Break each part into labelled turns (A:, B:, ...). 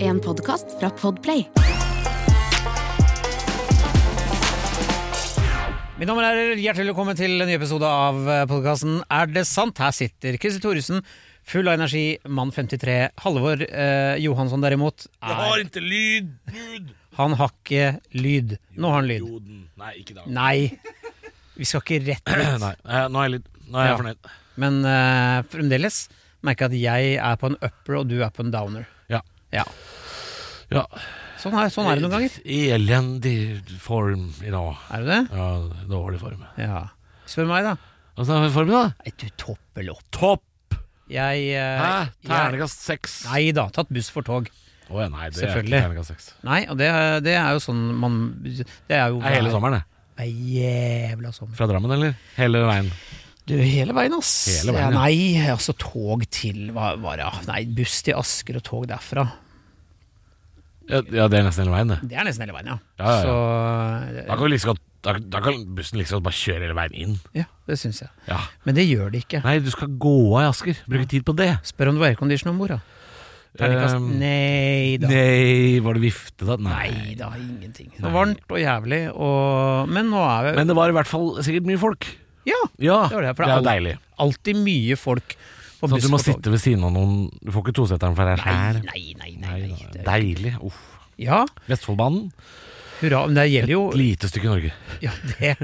A: en podkast fra Podplay.
B: Mitt navn er Hjertelig velkommen til en ny episode av podkasten Er det sant? Her sitter Christer Thoresen, full av energi, mann 53. Halvor eh, Johansson derimot,
C: Jeg
B: er,
C: har ikke lyd, Gud!
B: han har ikke lyd. Nå har han lyd.
C: Joden. Nei, ikke da.
B: Nei, vi skal ikke rett
C: Nei,
B: ut.
C: eh, nå er jeg lyd. Nå er jeg
B: Ja.
C: fornøyd.
B: Men eh, fremdeles merker jeg at jeg er på en upper, og du er på en downer.
C: Ja.
B: Ja.
C: ja.
B: Sånn er, sånn er det noen ganger.
C: I elendig form i dag.
B: Er du det?
C: Ja, dårlig form.
B: Ja. Spør meg, da.
C: Åssen er formen, da?
B: Nei, du toppel opp.
C: Topp!
B: Jeg eh,
C: Hæ?
B: jeg-
C: Ternekast seks.
B: Nei da, tatt buss for tog.
C: Å ja, nei, det
B: Selvfølgelig.
C: er ikke ternekast seks.
B: Nei, og det, det er jo sånn man Det er jo
C: Det er hele sommeren, det.
B: Hver jævla sommer.
C: Fra Drammen, eller? Hele veien.
B: Du, hele veien, ass.
C: Hele veien, ja.
B: ja. Nei, altså tog til hva var det? Nei, buss til Asker og tog derfra.
C: Ja, ja, det er nesten hele veien, det.
B: Det er nesten hele veien, ja.
C: Ja, ja, Da
B: Så
C: kan, vi like så godt, da, da kan bussen like så godt bare kjøre hele veien inn.
B: eh, Ja, det syns jeg.
C: Ja.
B: Men det gjør det ikke.
C: Nei, du skal gå av i Asker. Bruke tid på det.
B: Spør om det var aircondition om bord, da. Terningkast
C: Um,
B: Nei da.
C: Nei, var det vifte, da?
B: Nei da, ingenting. Det var varmt og jævlig, og Men nå er vi
C: Men det var i hvert fall sikkert mye folk.
B: Ja!
C: Ja,
B: Det var det, for
C: er jo
B: alle-
C: deilig.
B: Alltid mye folk på
C: Sånn at
B: buss
C: du må
B: og tog.
C: sitte ved siden av noen Du får ikke toseteren for deg
B: Nei,
C: her.
B: nei, nei. nei, nei.
C: da.
B: Det,
C: Deilig. Uff.
B: ja,
C: Vestfoldbanen.
B: hurra. Men det gjelder jo
C: Et lite stykke Norge.
B: Ja, det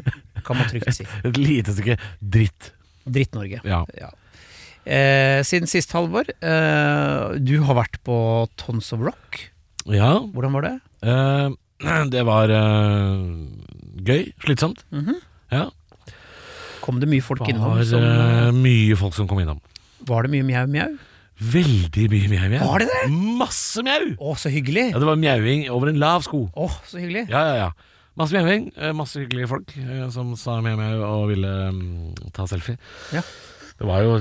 B: kan man trygt si.
C: Et lite stykke dritt.
B: Dritt-Norge.
C: Ja.
B: Eh, siden sist, Halvor, eh, du har vært på Tons of Rock.
C: Ja,
B: Hvordan var det?
C: eh, det var eh, gøy. Slitsomt.
B: Mhm.
C: Ja.
B: Kom det mye folk
C: Det
B: innom?
C: var
B: Som,
C: eh, mye folk som kom innom.
B: var det mye mjau-mjau?
C: Veldig mye mjau. mjau.
B: Var det det?
C: Masse mjau!
B: Å, så hyggelig!
C: Ja, det var mjauing over en lav sko.
B: Å, så hyggelig.
C: Ja, ja, ja. Masse mjauing. eh, Masse hyggelige folk eh, som sa mjau mjau og ville mm, ta selfie.
B: Ja.
C: Det var jo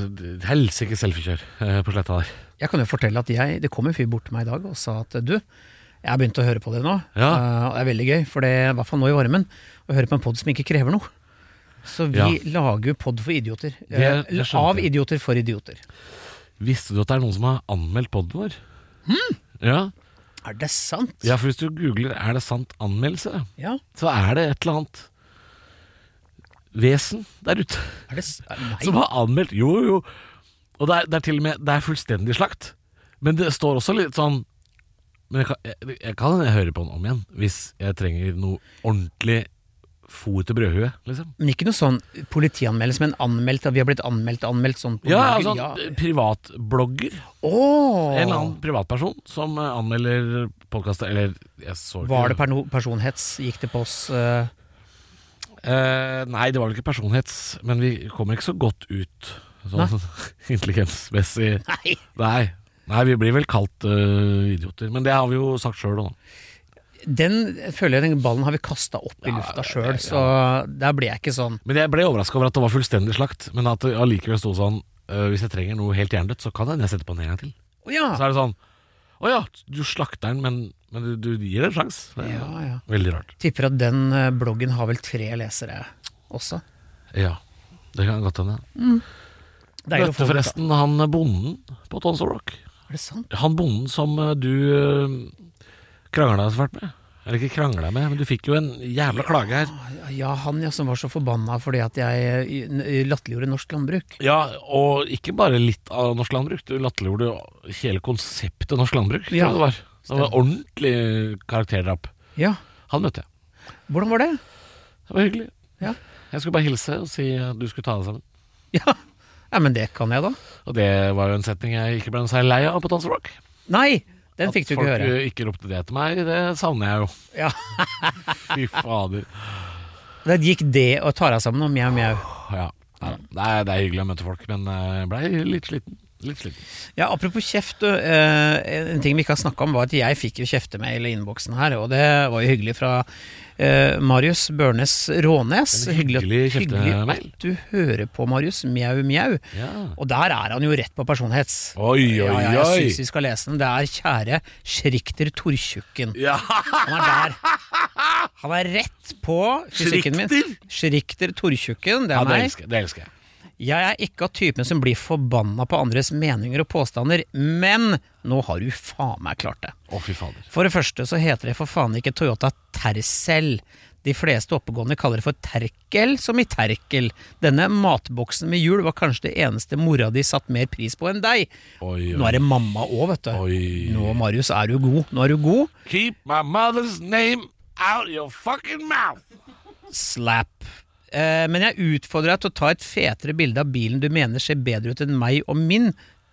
C: helsike selfiekjør eh, på sletta der.
B: Jeg kan jo fortelle at jeg, det kom en fyr bort til meg i dag og sa at du, jeg har begynt å høre på det nå.
C: Ja.
B: Eh, og det er veldig gøy, for det er i hvert fall nå i varmen, å høre på en pod som ikke krever noe. Så vi
C: Ja.
B: lager jo pod for idioter.
C: Det-
B: Eh,
C: det skjønte
B: av
C: jeg.
B: idioter for idioter.
C: Visste du at det er noen som har anmeldt poden vår? Ja.
B: Er det sant?
C: ja, for hvis du googler 'er det sant anmeldelse',
B: ja.
C: så er det et eller annet vesen der ute
B: Er det s- Nei.
C: som har anmeldt Jo, jo. Og det er, det er til og med Det er fullstendig slakt. Men det står også litt sånn Men jeg kan, jeg, jeg kan høre på den om igjen hvis jeg trenger noe ordentlig fot til brødhue, liksom.
B: Men ikke noe sånn politianmeldelse, men anmeldt at vi har blitt anmeldt anmeldt sånn på
C: Ja,
B: bloggen,
C: altså privatblogger.
B: ja. Åh!
C: En eller annen privatperson som eh, anmelder podkastet Eller, jeg så ikke
B: Var det perno- personhets? Gikk det på oss? eh,
C: Eh, nei, det var vel ikke personhets, men vi kommer ikke så godt ut sånn intelligensmessig.
B: nei!
C: Nei. nei, vi blir vel kalt eh, idioter. Men det har vi jo sagt sjøl òg.
B: Den føler jeg den ballen har vi kasta opp i lufta sjøl, så der ble jeg ikke sånn
C: Men jeg ble overraska over at det var fullstendig slakt. Men at det allikevel sto sånn eh, Hvis jeg trenger noe helt jerndødt, så kan jeg sette på den en gang til.
B: Å ja!
C: Så er det sånn Å ja, du slakter den, men, men du, du gir det en sjanse. Det er
B: ja, ja.
C: Veldig rart.
B: Tipper at den eh, bloggen har vel tre lesere også.
C: Ja, det kan godt hende.
B: Deilig å få det
C: Møtte
B: ut,
C: forresten han bonden på Tons of Rock.
B: da. Er det sant?
C: Han bonden som eh, du krangla så fælt med. Eller ikke krangla med, men du fikk jo en jævla klage her.
B: Ja, han ja, som var så forbanna fordi at jeg eh, i- i- latterliggjorde norsk landbruk.
C: Ja, og ikke bare litt av norsk landbruk. Du latterliggjorde jo hele konseptet norsk landbruk. tror jeg
B: Ja,
C: det var. Det var ordentlig karakterdrap.
B: Ja,
C: Han møtte jeg.
B: hvordan var det?
C: Det var hyggelig.
B: Ja.
C: Jeg skulle bare hilse og si at du skulle ta deg sammen.
B: Ja, ja men det kan jeg, da.
C: Og det var jo en setning jeg ikke ble særlig lei av på Tons of Rock.
B: Nei! Den fikk du ikke
C: Folk
B: høre.
C: eh, ikke ropte det til meg, det savner jeg jo.
B: Ja.
C: Fy fader.
B: Det gikk det og tar deg sammen og mjau, mjau.
C: Ja. Nei, det er, det er hyggelig å møte folk, men eh, jeg blei litt sliten. Litt sliten.
B: Ja, apropos kjeft, du, eh, en ting vi ikke har snakka om, var at jeg fikk jo kjeftemail i innboksen her, og det var jo hyggelig fra eh, Marius Børnes Rånes.
C: En hyggelig kjeftemail.
B: hyggelig at du hører på, Marius. Mjau, mjau.
C: Ja.
B: Og der er han jo rett på personhets.
C: Oi, oi,
B: Ja,
C: oi.
B: ja, jeg syns vi skal lese den. Det er kjære Schrikter Tortjukken.
C: Ja.
B: Han er der. Han er rett på fysikken min. Schrikter Tortjukken, det er
C: det
B: meg.
C: elsker, jeg, det elsker jeg.
B: Jeg er ikke av typen som blir forbanna på andres meninger og påstander, men nå har du faen meg klart det.
C: Å, fy fader.
B: For det første så heter det for faen ikke Toyota Tercel. De fleste oppegående kaller det for terkel, som i terkel. Denne matboksen med hjul var kanskje det eneste mora di satt mer pris på enn deg.
C: Oi,
B: Nå er det mamma òg, vet du.
C: Oi.
B: Nå, Marius, er du god. Nå er du god.
C: Keep my mother's name out your fucking mouth.
B: Slap. Eh, men jeg utfordrer deg til å ta et fetere bilde av bilen du mener ser bedre ut enn meg og min.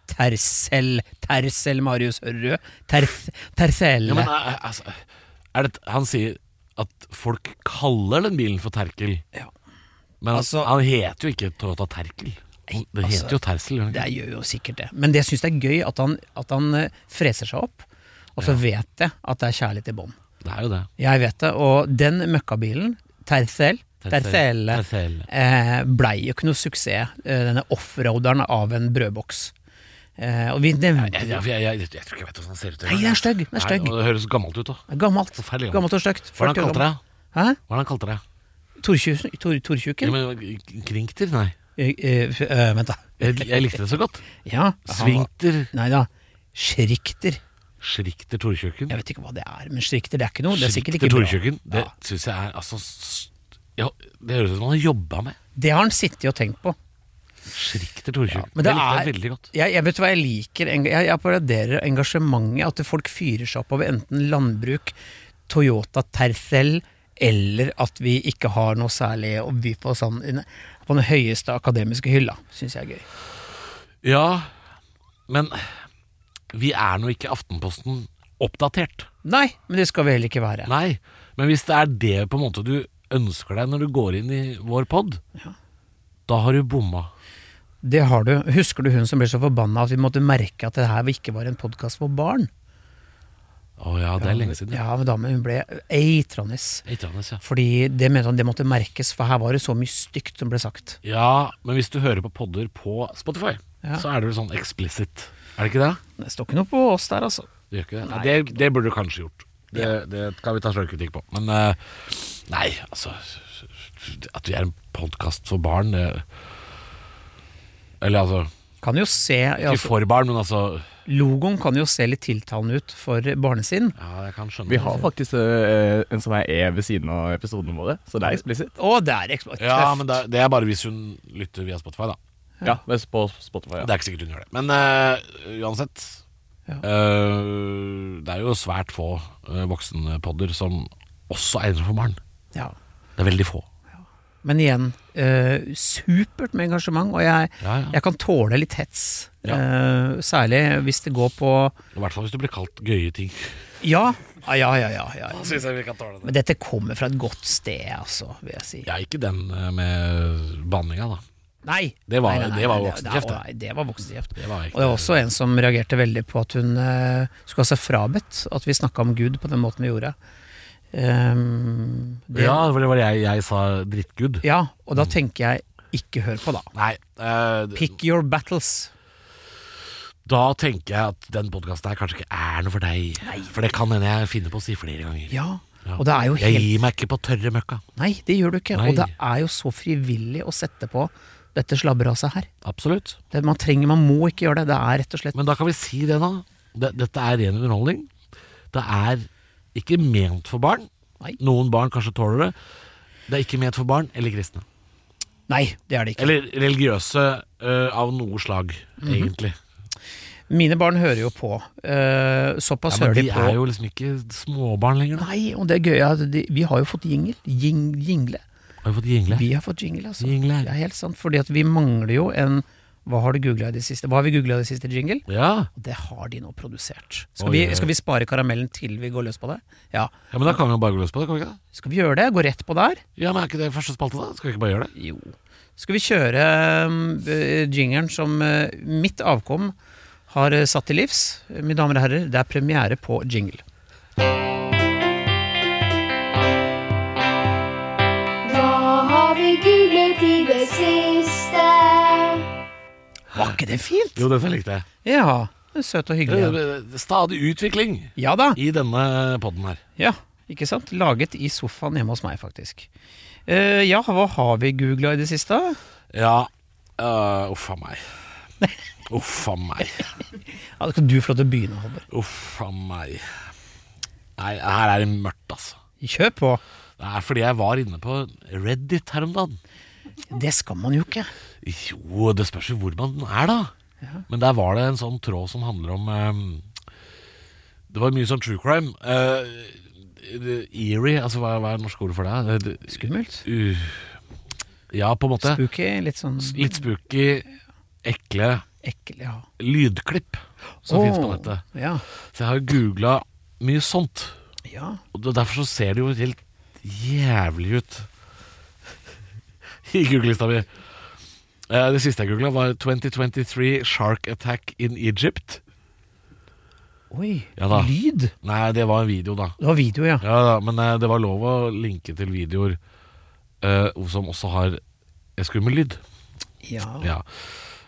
B: Tercel. Tercel, Marius. Hører du? Terf, tercel.
C: Ja, men, eh, eh, altså, er det, han sier at folk kaller den bilen for Terkel.
B: Ja.
C: Men han-
B: Altså-
C: han heter jo ikke Toyota Terkel. Han- Det
B: altså,
C: heter jo Tercel. gjør det ikke?
B: Det gjør jo sikkert det. Men det syns jeg er gøy at han, at han eh, freser seg opp, og så vet jeg at det er kjærlighet i bånn.
C: Det er jo det.
B: Jeg vet det. Og den møkkabilen, Tercel, Tercel
C: Tercel.
B: eh, blei jo ikke noe suksess, eh, denne offroaderen av en brødboks. Eh, og vi nevnte
C: Jeg, jeg, jeg, jeg, jeg tror ikke jeg vet hvordan han ser ut.
B: Nei, den er stygg! Den er
C: Nei,
B: stygg.
C: og Det høres gammelt ut, da.
B: Gammelt.
C: Forferdelig gammelt.
B: Gammelt og stygt.
C: Hva er det
B: 40 år
C: han kalte deg?
B: Hæ?
C: Hva er det han kalte deg?
B: Tortjuken? Tor, tortjuken?
C: Ja, men, krinkter? Nei.
B: Eh, eh, f- eh, vent, da.
C: Jeg, jeg likte det så godt.
B: Ja.
C: Svinkter,
B: Nei da. Schrikter.
C: Schrikter Torkjøkken.
B: Jeg vet ikke hva det er, men schrikter det er ikke noe. Det er sikkert
C: Schrikter
B: ikke bra.
C: Torkjøkken, det syns jeg er altså s- ja, Det høres ut som han har jobba med.
B: Det har han sittet og tenkt på.
C: Schrikter Torkjøkken.
B: men det
C: det likte jeg
B: er-
C: veldig godt.
B: Jeg, jeg vet hva jeg liker. Eng- Jeg, jeg applauderer engasjementet. At folk fyrer seg opp over enten landbruk, Toyota Tercel, eller at vi ikke har noe særlig å by på sånn, inne- på den høyeste akademiske hylla. Syns jeg er gøy.
C: Ja, men vi er nå ikke Aftenposten oppdatert.
B: Nei, men det skal vi heller ikke være.
C: Nei, men hvis det er det på en måte du ønsker deg når du går inn i vår pod, da har du bomma.
B: Det har du. Husker du hun som ble så forbanna at vi måtte merke at det her ikke var en podkast for barn?
C: Å ja, det er lenge siden.
B: Ja, men damen hun ble eitrende.
C: Ikke annet, ja.
B: Fordi det mente han det måtte merkes, for her var det så mye stygt som ble sagt.
C: Ja, men hvis du hører på podder på Spotify,
B: Ja.
C: så er det vel sånn explicit. Er det ikke det?
B: Det står ikke noe på oss der, altså.
C: Det gjør ikke det. Nei, det, det burde du kanskje gjort. Det, det kan vi ta sjølkritikk på. Men eh, nei, altså At vi er en podkast for barn det, Eller altså Ikke
B: Kan jo se altså,
C: for barn, men altså
B: Logoen kan jo se litt tiltalende ut for barnesinn.
C: Ja, jeg kan skjønne
A: Vi
C: det.
A: har faktisk eh, en som er E ved siden av episodene våre, så det er eksplisitt.
B: Å, det er eksplosivt.
C: Ja, men det, er- det er bare hvis hun lytter via Spotify, da.
A: Ja, det er på Spotify.
C: Det
A: Ja.
C: er ikke sikkert hun gjør det. Men eh, uansett
B: Ja.
C: eh, Det er jo svært få eh, voksenpodder som også egner seg for barn.
B: Ja.
C: Det er veldig få.
B: Men igjen, eh, supert med engasjement, og jeg,
C: Ja, ja.
B: jeg kan tåle litt hets.
C: Ja.
B: Eh, særlig hvis det går på
C: I hvert fall hvis du blir kalt gøye ting.
B: Ja, ah, ja, ja, ja. ja.
C: Synes jeg vi kan tåle det
B: Men dette kommer fra et godt sted, altså, vil jeg si.
C: Ja, ikke den eh, med banninga, da.
B: Nei!
C: Det var-
B: nei, nei, nei,
C: det var
B: nei,
C: voksenkjeft, det.
B: nei, Det var voksenkjeft.
C: Det var
B: Og det var også en som reagerte veldig på at hun eh, skulle ha seg frabedt at vi snakka om Gud på den måten vi gjorde. Ehm, det,
C: Ja, for det var det jeg, jeg sa drittgud.
B: Ja, og da tenker jeg ikke hør på, da.
C: Nei, eh, d-
B: Pick your battles.
C: da tenker jeg at den podkasten her kanskje ikke er noe for deg. For det kan hende jeg finner på å si flere ganger.
B: Ja,
C: Ja.
B: og det er jo
C: Jeg
B: helt
C: gir meg ikke på tørre møkka.
B: Nei, det gjør du ikke.
C: Nei.
B: Og det er jo så frivillig å sette på dette slabberaset her.
C: Absolutt.
B: Det, man trenger, man må ikke gjøre det. Det er rett og slett
C: Men da kan vi si det, da. Det- Dette er ren underholdning. Det er ikke ment for barn.
B: Nei.
C: Noen barn kanskje tåler det. Det er ikke ment for barn eller kristne.
B: Nei, det er det ikke.
C: Eller religiøse eh, av noe slag,
B: Mhm.
C: egentlig.
B: Mine barn hører jo på. eh,
C: Ja,
B: såpass
C: men
B: hører
C: de
B: de på.
C: er jo liksom ikke småbarn lenger, da.
B: Nei, og det gøye er at de, vi har jo fått jingle. Jing, jingle.
C: Har vi fått jingle?
B: Vi har fått jingle, altså.
C: Jingle.
B: Det er helt sant. Fordi at vi mangler jo en Hva har du googla i det siste? Hva har vi googla i det siste jingle?
C: Ja.
B: Og det har de nå produsert. Skal,
C: Oi,
B: vi,
C: oi.
B: skal vi spare karamellen til vi går løs på det? Ja.
C: ja, men da kan vi jo bare gå løs på det, kan vi ikke det?
B: Skal vi gjøre det? Gå rett på der?
C: Ja, men er ikke det første spalte, da? Skal vi ikke bare gjøre det?
B: Jo. Skal vi kjøre um, eh, jingeren som eh, mitt avkom har eh, satt til livs? Mine damer og herrer, det er premiere på jingle.
D: Hva har vi googlet i det siste?
B: Var ikke det fint?
C: Jo, dette likte jeg.
B: Ja. det er Søt og
C: Det-
B: hyggelig.
C: det- det- Stadig utvikling
B: Ja da.
C: i denne podden her.
B: Ja, ikke sant? Laget i sofaen hjemme hos meg, faktisk. Eh, ja, hva har vi googla i det siste?
C: Ja, Uh, Uff a meg. Uff a meg.
B: Ja, da kan du få lov til å begynne, Halvor.
C: Uff a meg. Nei, her er det mørkt, altså.
B: Kjør på!
C: Det er fordi jeg var inne på Reddit her om dagen.
B: Det skal man jo ikke.
C: Jo, det spørs jo hvor man er, da. Men der var det en sånn tråd som handler om ehm, Det var mye sånn true crime. Eh, det- eerie, altså hva, hva er det norske ordet for det? Eh, det? det-
B: Skummelt.
C: u- ja, på en måte.
B: Spooky, litt sånn
C: Litt spooky, ekle
B: ekkel, ja.
C: lydklipp som
B: Åh,
C: finnes på nettet.
B: Ja.
C: Så jeg har googla mye sånt.
B: ja.
C: Og det- derfor så ser det jo helt jævlig ut i googlelista mi. Eh, Det siste jeg googla, var 2023 Shark Attack in Egypt.
B: Oi.
C: Ja da.
B: Lyd.
C: Nei, det var en video, da.
B: Det var video, ja.
C: Ja da, Men eh, det var lov å linke til videoer eh, som også har skummel lyd.
B: Ja.
C: Ja.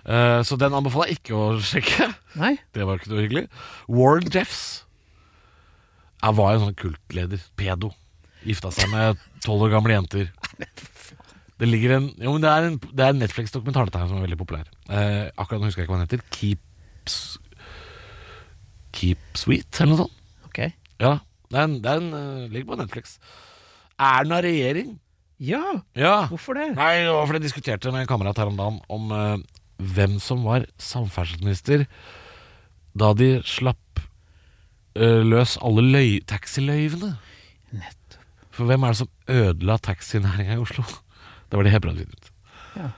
C: Eh, Så den anbefaler jeg ikke å sjekke.
B: Nei?
C: Det var ikke noe hyggelig. Warren Jeffs Jeg var en sånn kultleder. Pedo. Gifta seg med tolv år gamle jenter. Det ligger en Jo, men det er en, det er en Netflix-dokumentar dette her som er veldig populær. Eh, akkurat nå husker jeg ikke hva den heter. Keeps Keep Sweet, eller noe sånt.
B: Ok.
C: Ja. Den, den eh, ligger på Netflix. Erna regjering.
B: Ja,
C: Ja.
B: hvorfor det?
C: Nei, det var fordi jeg diskuterte med en kamerat her om dagen om eh, hvem som var samferdselsminister da de slapp eh, løs alle løy taxiløyvene.
B: Nettopp.
C: For hvem er det som ødela taxinæringa i Oslo? Det var det Hebra finner ut.
B: Ja.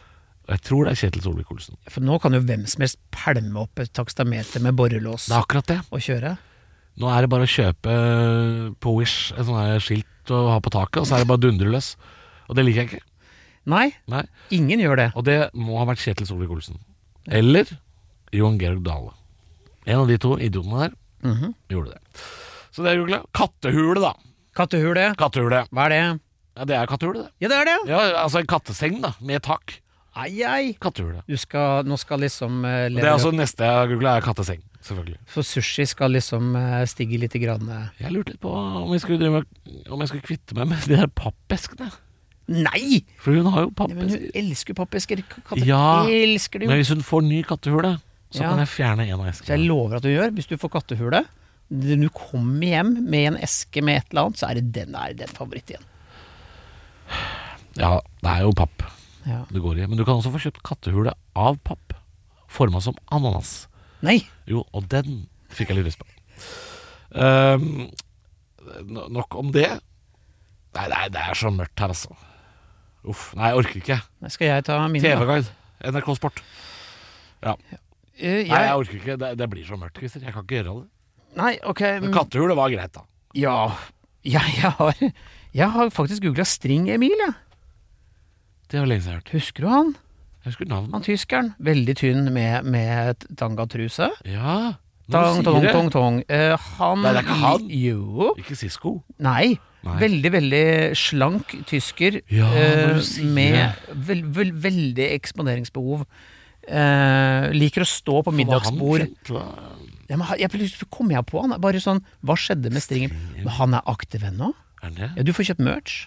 C: Og jeg tror det er Kjetil Solvik-Olsen.
B: For nå kan jo hvem som helst pælme opp et takstameter med borrelås
C: Det er akkurat det.
B: og kjøre.
C: Nå er det bare å kjøpe eh, på Wish et sånt her skilt å ha på taket, og så er det bare å dundre løs. Og det liker jeg ikke.
B: Nei,
C: Nei.
B: ingen gjør det.
C: Og det må ha vært Kjetil Solvik-Olsen. Eller Johan Georg Dale. En av de to idiotene der
B: Mhm.
C: gjorde det. Så det er jo glad. Kattehule, da.
B: Kattehule,
C: Kattehule.
B: hva er det?
C: Ja, det er kattehule, det.
B: Ja, det er det, ja.
C: Ja, altså en katteseng, da. Med tak.
B: Ai, ai.
C: Kattehule.
B: Du skal, nå skal liksom eh,
C: Det er
B: leveren-
C: altså neste jeg har googla, er katteseng. Selvfølgelig.
B: Så sushi skal liksom eh, stige litt i grann. eh.
C: Jeg lurte litt på om jeg skulle, drive, med- om jeg skulle kvitte meg med de der pappeskene.
B: Nei!
C: For hun har jo
B: Nei, Men hun
C: pappesker.
B: elsker jo pappesker. K- Katter
C: Ja,
B: elsker det
C: Men
B: jo.
C: hvis hun får ny kattehule, så
B: Ja.
C: kan jeg fjerne en av
B: Så jeg
C: eskene.
B: lover at du gjør, hvis du får kattehule Du kommer hjem med en eske med et eller annet, så er det den, er det den favoritt igjen.
C: Ja, det er jo papp.
B: Ja.
C: det går i. Men du kan også få kjøpt kattehule av papp, forma som ananas.
B: Nei!
C: Jo, og den fikk jeg litt lyst på. Ehm, no- nok om det. Nei, nei, det er så mørkt her, altså. Uff. Nei, jeg orker ikke.
B: Nei, Skal jeg ta mine? da?
C: TV-guide. NRK Sport. Ja.
B: Eh,
C: Nei, jeg
B: jeg,
C: orker ikke. Det, det blir så mørkt, Christer. Jeg kan ikke gjøre det.
B: nei, ok.
C: Men
B: mm,
C: kattehule var greit, da.
B: Ja, jeg, jeg, har, jeg har faktisk googla String Emil, jeg.
C: Det var lenge siden jeg har hørt.
B: Husker du han?
C: Jeg husker navnet.
B: Han tyskeren. Veldig tynn med, med tangatruse.
C: Ja, når
B: Tang,
C: du
B: tong,
C: sier
B: tong,
C: det.
B: tong. Eh, han
C: Nei, det er ikke han.
B: Jo.
C: Ikke Sisko.
B: Nei.
C: Nei.
B: Veldig, veldig slank tysker
C: Ja, når
B: eh,
C: du sier
B: med vel- vel- veldig eksponeringsbehov. Eh, liker å stå på
C: Var han
B: middagsbord.
C: kjent, hva?
B: Ja, men han- jeg plutselig kom jeg på han. Bare sånn, Hva skjedde med Stringer? Men han er aktiv ennå?
C: Er han det?
B: Ja, du får kjøpt merch.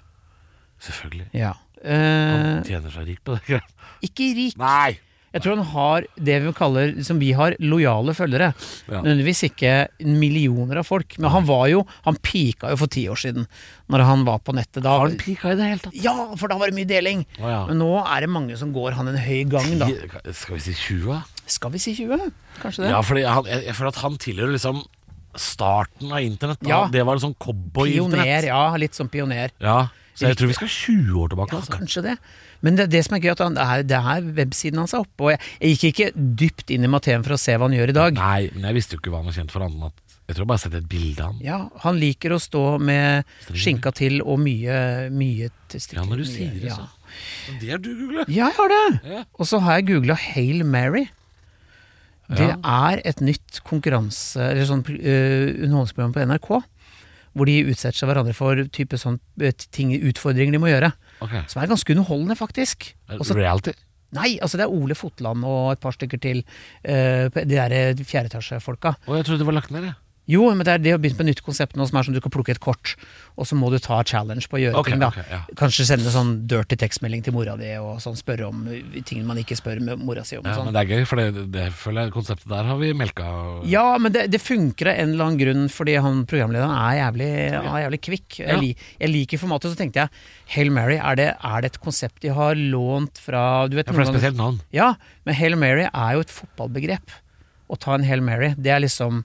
C: Selvfølgelig.
B: Ja.
C: Han
B: Eh,
C: tjener seg rik på det. ikke sant?
B: ikke rik.
C: Nei!
B: Jeg tror han har det vi kaller, som vi har, lojale følgere.
C: Ja.
B: Nødvendigvis ikke millioner av folk. Men han var jo, han pika jo for ti år siden, når han var på nettet da.
C: Har den pika i det hele tatt?
B: Ja, for da var det mye deling.
C: Å, ja.
B: Men nå er det mange som går han en høy gang, da.
C: Ti- Skal vi si 20? da?
B: Skal vi si 20? Kanskje det?
C: Ja, fordi han, jeg, jeg føler at han tilhører liksom starten av internett. da.
B: Ja.
C: Det var liksom
B: pioner,
C: cowboy-internett.
B: ja. Litt sånn pioner.
C: Ja. Så jeg tror vi skal 20 år tilbake.
B: Ja,
C: altså.
B: kanskje det. Men det, er det som er gøy, at han, det, er, det er websiden hans er oppe. Og jeg, jeg gikk ikke dypt inn i materien for å se hva han gjør i dag.
C: Nei, men jeg visste jo ikke hva han var kjent for annet enn at Jeg tror jeg bare har sett et bilde av han.
B: Ja, han liker å stå med skinka til og mye, mye testikler.
C: Ja, når du
B: mye-
C: sier det,
B: ja.
C: så. Men Det er du, Google.
B: Ja, jeg har
C: Ja.
B: det! Og så har jeg googla Hail Mary. Det er et nytt konkurranse Eller sånn eh, underholdningsprogram på NRK. Hvor de utsetter seg hverandre for type sånn eh, ting, utfordringer de må gjøre.
C: Ok.
B: Som er ganske underholdende, faktisk.
C: Er det
B: Og så-
C: Reality.
B: nei, altså det er Ole Fotland og et par stykker til. eh, på de der eh, fjerde etasje-folka.
C: Å, jeg trodde det var lagt ned, jeg.
B: Jo, men det er det å begynne med et nytt konsept nå som er sånn du kan plukke et kort, og så må du ta challenge på å gjøre
C: Ok,
B: ting. da
C: ok, ja.
B: Kanskje sende sånn dirty tekstmelding til mora di og sånn spørre om uh, ting man ikke spør med mora si om. og
C: Ja,
B: sånn.
C: men det er gøy, for det, det føler jeg konseptet der har vi melka.
B: Ja, men det, det funker av en eller annen grunn, fordi han programlederen er jævlig, han er jævlig kvikk.
C: Ja.
B: Jeg, li, jeg liker formatet, så tenkte jeg Hail Mary, er det, er det et konsept de har lånt fra du vet,
C: Ja, for det er
B: noen ganger-
C: spesielt navn.
B: ja, men Hail Mary er jo et fotballbegrep. Å ta en Hail Mary, det er liksom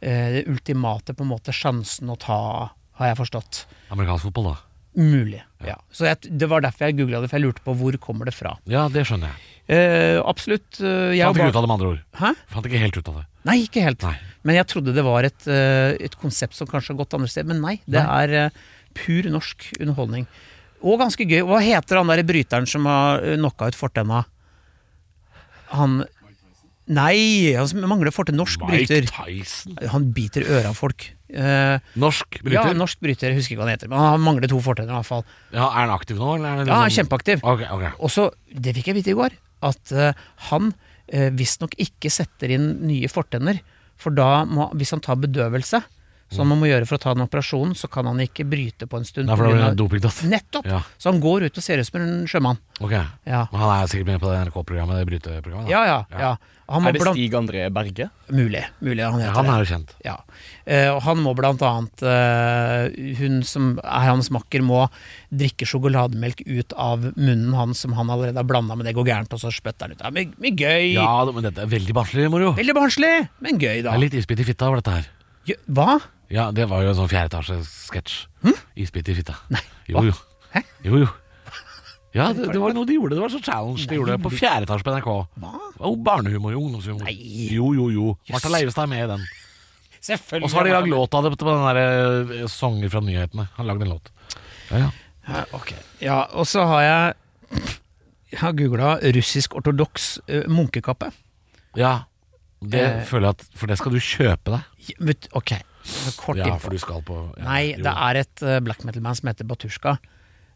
B: eh, det ultimate på en måte sjansen å ta, har jeg forstått.
C: Amerikansk fotball, da.
B: Mulig. Ja. Så jeg, det var derfor jeg googla det, for jeg lurte på hvor kommer det fra.
C: Ja, det skjønner jeg.
B: Eh, absolutt. eh, jeg
C: Fant
B: og barn-
C: ikke ut av det, med andre ord.
B: Hæ?
C: Fant ikke helt ut av det.
B: Nei, ikke helt.
C: Nei.
B: Men jeg trodde det var et, eh, et konsept som kanskje har gått andre steder. Men nei, det er eh, pur norsk underholdning. Og ganske gøy. Hva heter han derre bryteren som har eh, knocka ut fortenna? Han Nei, han som mangler fortenn. Norsk
C: Mike
B: bryter.
C: Tyson.
B: Han biter øret av folk. Eh,
C: Norsk
B: ja,
C: bryter. Ja,
B: norsk bryter. Jeg husker ikke hva han heter. Men han mangler to fortenner, i hvert fall.
C: er han aktiv nå, eller er det
B: Ja, han er
C: liksom-
B: kjempeaktiv.
C: Ok, ok.
B: Og så, det fikk jeg vite i går, at eh, han uh, visstnok ikke setter inn nye fortenner. For da må, hvis han tar bedøvelse, som han må gjøre for å ta den operasjonen, så kan han ikke bryte på en stund.
C: Nei, for
B: på
C: da
B: grunn
C: blir
B: av-
C: det dopingtatt.
B: Nettopp!
C: Ja.
B: Så han går ut og ser ut som en sjømann.
C: Ok.
B: Ja,
C: Men han er sikkert med på det NRK-programmet, det bryteprogrammet. da.
B: ja, ja. ja. Han må
A: Er det
B: blant...
A: Stig André Berge?
B: Mulig. Mulig han heter
C: Ja, han
B: det.
C: er jo kjent.
B: Ja. Eh, og han må blant annet eh, Hun som er hans makker, må drikke sjokolademelk ut av munnen hans som han allerede har blanda, men det går gærent, og så spytter han ut. Det er mye- mye gøy!
C: Ja, det- men dette er veldig barnslig moro. Det
B: Veldig barnslig, men gøy, da.
C: er litt isbit i fitta over dette her.
B: Jø, Hva?
C: Ja, det var jo en sånn fjerdeetasje-sketsj. Isbit i fitta.
B: Hm? Nei,
C: Jo, jo.
B: Hæ?
C: Jo, jo. Ja, det, det var noe de gjorde. Det var sånn challenge de gjorde på fjerde etasje på NRK.
B: Hva?
C: Og barnehumor, ungdomshumor.
B: Nei.
C: Jo, jo, jo. Martha
B: Jøss.
C: Leivestad er med i den.
B: Selvfølgelig.
C: Og så har de lagd låt av det på den der eh, Sanger fra nyhetene. Han lagde en låt. Ja, ja.
B: Ja, ok. Ja, og så har jeg Jeg har googla russisk ortodoks eh, munkekappe.
C: ja det
B: Eh.
C: føler jeg at For det skal du kjøpe deg.
B: Ja, vet- Ok, så kort
C: Ja,
B: info.
C: for du skal på ja,
B: Nei,
C: jo.
B: det er et eh, black metal-band som heter Batushka.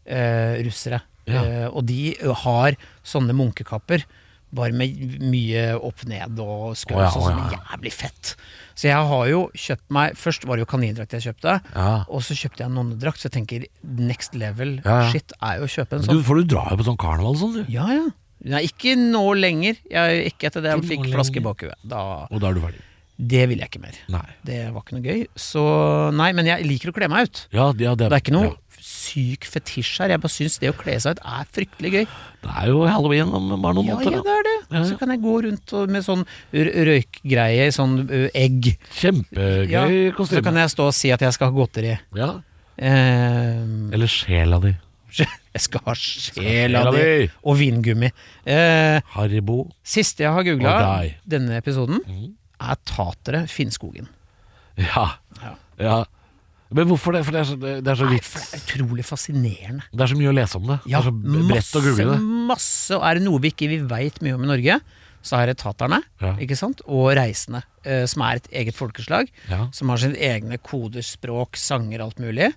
B: eh, russere.
C: Ja.
B: Eh, og de eh, har sånne munkekapper, bare med mye opp ned og skrøs
C: Å ja,
B: og
C: å
B: sånn.
C: ja, ja.
B: Jævlig fett. Så jeg har jo kjøpt meg Først var det jo kanindrakt jeg kjøpte.
C: ja.
B: Og så kjøpte jeg en nonnedrakt, så jeg tenker next level
C: Ja, ja.
B: shit er jo å kjøpe en
C: Men
B: sånn.
C: Du, for du drar jo på sånn karneval og sånn, du.
B: Ja, ja. Nei, ikke nå lenger. Jeg, ikke etter det jeg
C: Ikke
B: fikk
C: nå
B: flaske i
C: lenger.
B: bakhuet. Da-
C: Og da er du ferdig.
B: Det ville jeg ikke mer.
C: Nei.
B: Det var ikke noe gøy. Så nei, men jeg liker å kle meg ut.
C: Ja, ja,
B: Det er ikke noe
C: ja.
B: syk fetisj her. Jeg bare syns det å kle seg ut er fryktelig gøy.
C: Det er jo halloween om bare noen
B: Ja, ja,
C: måneder.
B: det er det.
C: Ja, ja.
B: Så kan jeg gå rundt og, med sånn r- røykgreie, sånn ø, egg.
C: da. Kjempegøy
B: Ja, Så
C: kostyme.
B: kan jeg stå og si at jeg skal ha godteri.
C: Ja.
B: Eh,
C: Eller sjela di.
B: jeg skal ha sjela
C: Sjela
B: di
C: di.
B: og vingummi. Eh,
C: Haribo.
B: Siste jeg har googla
C: Og deg. Mhm.
B: denne episoden, er tatere Finnskogen.
C: Ja.
B: Ja.
C: ja. Men hvorfor det? For det er så, det er så
B: Nei,
C: vidt.
B: for det er utrolig fascinerende.
C: Det er så mye å lese om det.
B: Ja,
C: det er så Altså, b- bredt å google
B: masse,
C: det.
B: masse. Og er det noe vi ikke vi veit mye om i Norge, så er det taterne
C: Ja.
B: ikke sant? og reisende, eh, som er et eget folkeslag.
C: Ja.
B: Som har sine egne koder, språk, sanger, alt mulig.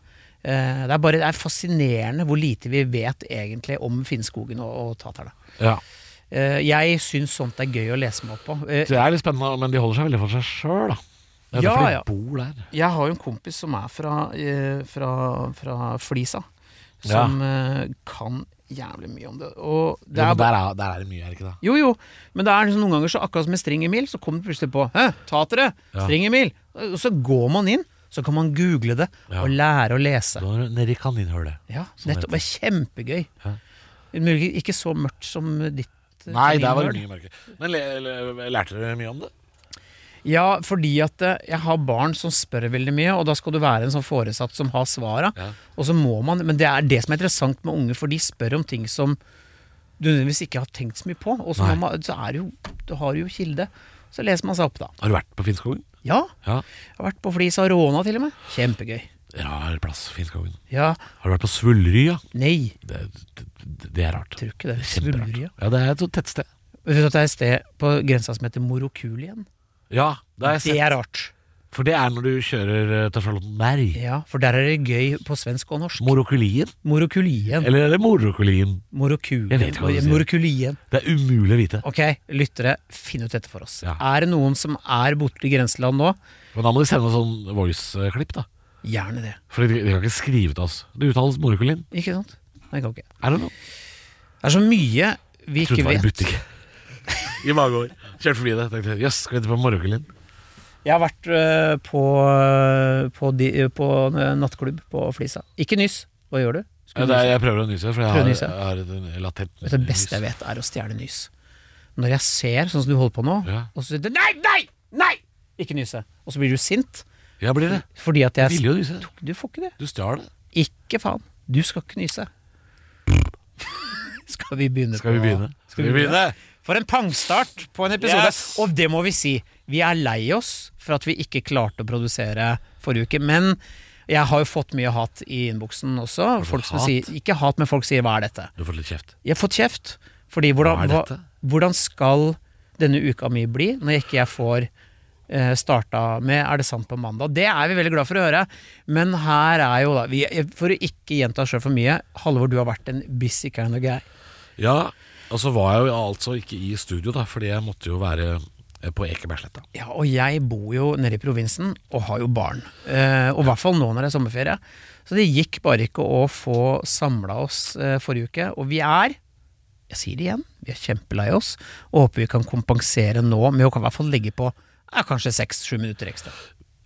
B: Eh, det, er bare, det er fascinerende hvor lite vi vet egentlig om Finnskogen og, og taterne.
C: Ja.
B: Eh, jeg syns sånt er gøy å lese meg opp på. Eh,
C: Det er litt spennende, men de holder seg veldig for seg sjøl, da. Det er
B: Ja,
C: derfor de
B: ja.
C: bor der.
B: Jeg har jo en kompis som er fra, eh, fra, fra Flisa, som eh, kan jævlig mye om det. Og det
C: Ja,
B: er bare,
C: men der, er, der er det mye, er det ikke det?
B: jo, jo, men det er liksom noen ganger så akkurat som med String-Emil, så kommer det plutselig på Hæ, tatere!
C: Ja.
B: String-Emil! Og så går man inn, så kan man google det
C: Ja.
B: og lære å lese.
C: Da er du nede i kaninhullet.
B: Ja,
C: Sånn
B: nettopp. Det er kjempegøy.
C: Ja.
B: Muligens ikke så mørkt som ditt. eh,
C: Nei,
B: kaninhull.
C: der var det mye mørkere. Men le, le, lærte dere mye om det?
B: Ja, fordi at eh, jeg har barn som spør veldig mye, og da skal du være en sånn foresatt som har svara.
C: Ja.
B: Og så må man, men det er det som er interessant med unge, for de spør om ting som du nødvendigvis ikke har tenkt så mye på. Og så,
C: Nei.
B: må man, så er det jo, du har jo kilde. Så leser man seg opp, da.
C: Har du vært på Finnskogen?
B: Ja,
C: Ja.
B: jeg har vært på Flisa og Råna til og med. Kjempegøy.
C: Rar plass, Finnskogen.
B: Ja,
C: Har du vært på Svullerya?
B: nei,
C: Det, det, det er rart.
B: tror ikke det.
C: Kjemperart.
B: Svulleria.
C: Ja, det er et sånt tettsted.
B: Vet du at det er et sted på grensa som heter Morokulien?
C: Ja, det har jeg
B: Det
C: sett.
B: er rart.
C: For det er når du kjører eh, til Charlottenberg.
B: Ja, for der er det gøy på svensk og norsk.
C: Morokulien?
B: Morokulien.
C: Eller er det morokulien? Jeg vet ikke hva
B: Morokulien.
C: du sier.
B: Morokulien.
C: Det er umulig å vite.
B: Ok, lyttere, finn ut dette for oss.
C: Ja.
B: Er det noen som er borte i grenseland nå?
C: Men da må de sende oss sånn voice-klipp, da.
B: Gjerne det.
C: For de, de kan ikke skrive til oss. Det uttales morokulien.
B: Ikke sant? Nei, kan ikke.
C: Er det noe?
B: Det er så mye vi ikke
C: Trodde det var en
B: vet.
C: butikk. I mange år. Kjørte forbi det. Tenkte jøss, skal vi til på morokulien?
B: Jeg har vært øh, på, øh, på, de, øh, på en nattklubb på Flisa. Ikke nyss. Hva gjør du?
C: Ja,
B: Skulle
C: det
B: du
C: er, jeg prøver å nyse, for jeg
B: Prøv å
C: har,
B: nyse.
C: jeg har et latent
B: nyse? det beste jeg vet, er å stjele nys. Når jeg ser sånn som du holder på nå,
C: Ja.
B: og så sier du nei, nei, nei! Ikke nyse. Og så blir du sint
C: Jeg blir det.
B: fordi at
C: Jeg
B: jeg
C: ville jo nyse.
B: Du får ikke det.
C: Du stjal det.
B: Ikke faen. Du skal ikke nyse. Skal vi begynne?
C: Skal vi
B: på-
C: begynne? Skal vi begynne?
B: For en pangstart på en episode.
C: Yes!
B: Og det må vi si. Vi er lei oss for at vi ikke klarte å produsere forrige uke. Men jeg har jo fått mye hat i innboksen også.
C: fått
B: Folk som
C: hat?
B: sier, ikke hat, men folk sier 'hva er dette'?
C: Du har fått litt kjeft.
B: Jeg har fått kjeft. Fordi hvordan,
C: Hva er
B: hva
C: dette?
B: hvordan skal denne uka mi bli når jeg ikke jeg får eh, starta med 'er det sant' på mandag? Det er vi veldig glad for å høre. Men her er jo da vi, For å ikke gjenta sjøl for mye, Halvor, du har vært en busy kind of guy.
C: Ja, og så var jeg jo altså ikke i studio, da, fordi jeg måtte jo være eh, på Ekebergsletta.
B: Ja, og jeg bor jo nede i provinsen og har jo barn. Eh, og i hvert fall nå når det er sommerferie. Så det gikk bare ikke å få samla oss eh, forrige uke. Og vi er, jeg sier det igjen, vi er kjempelei oss og håper vi kan kompensere nå med å i hvert fall legge på ja, kanskje seks-sju minutter ekstra.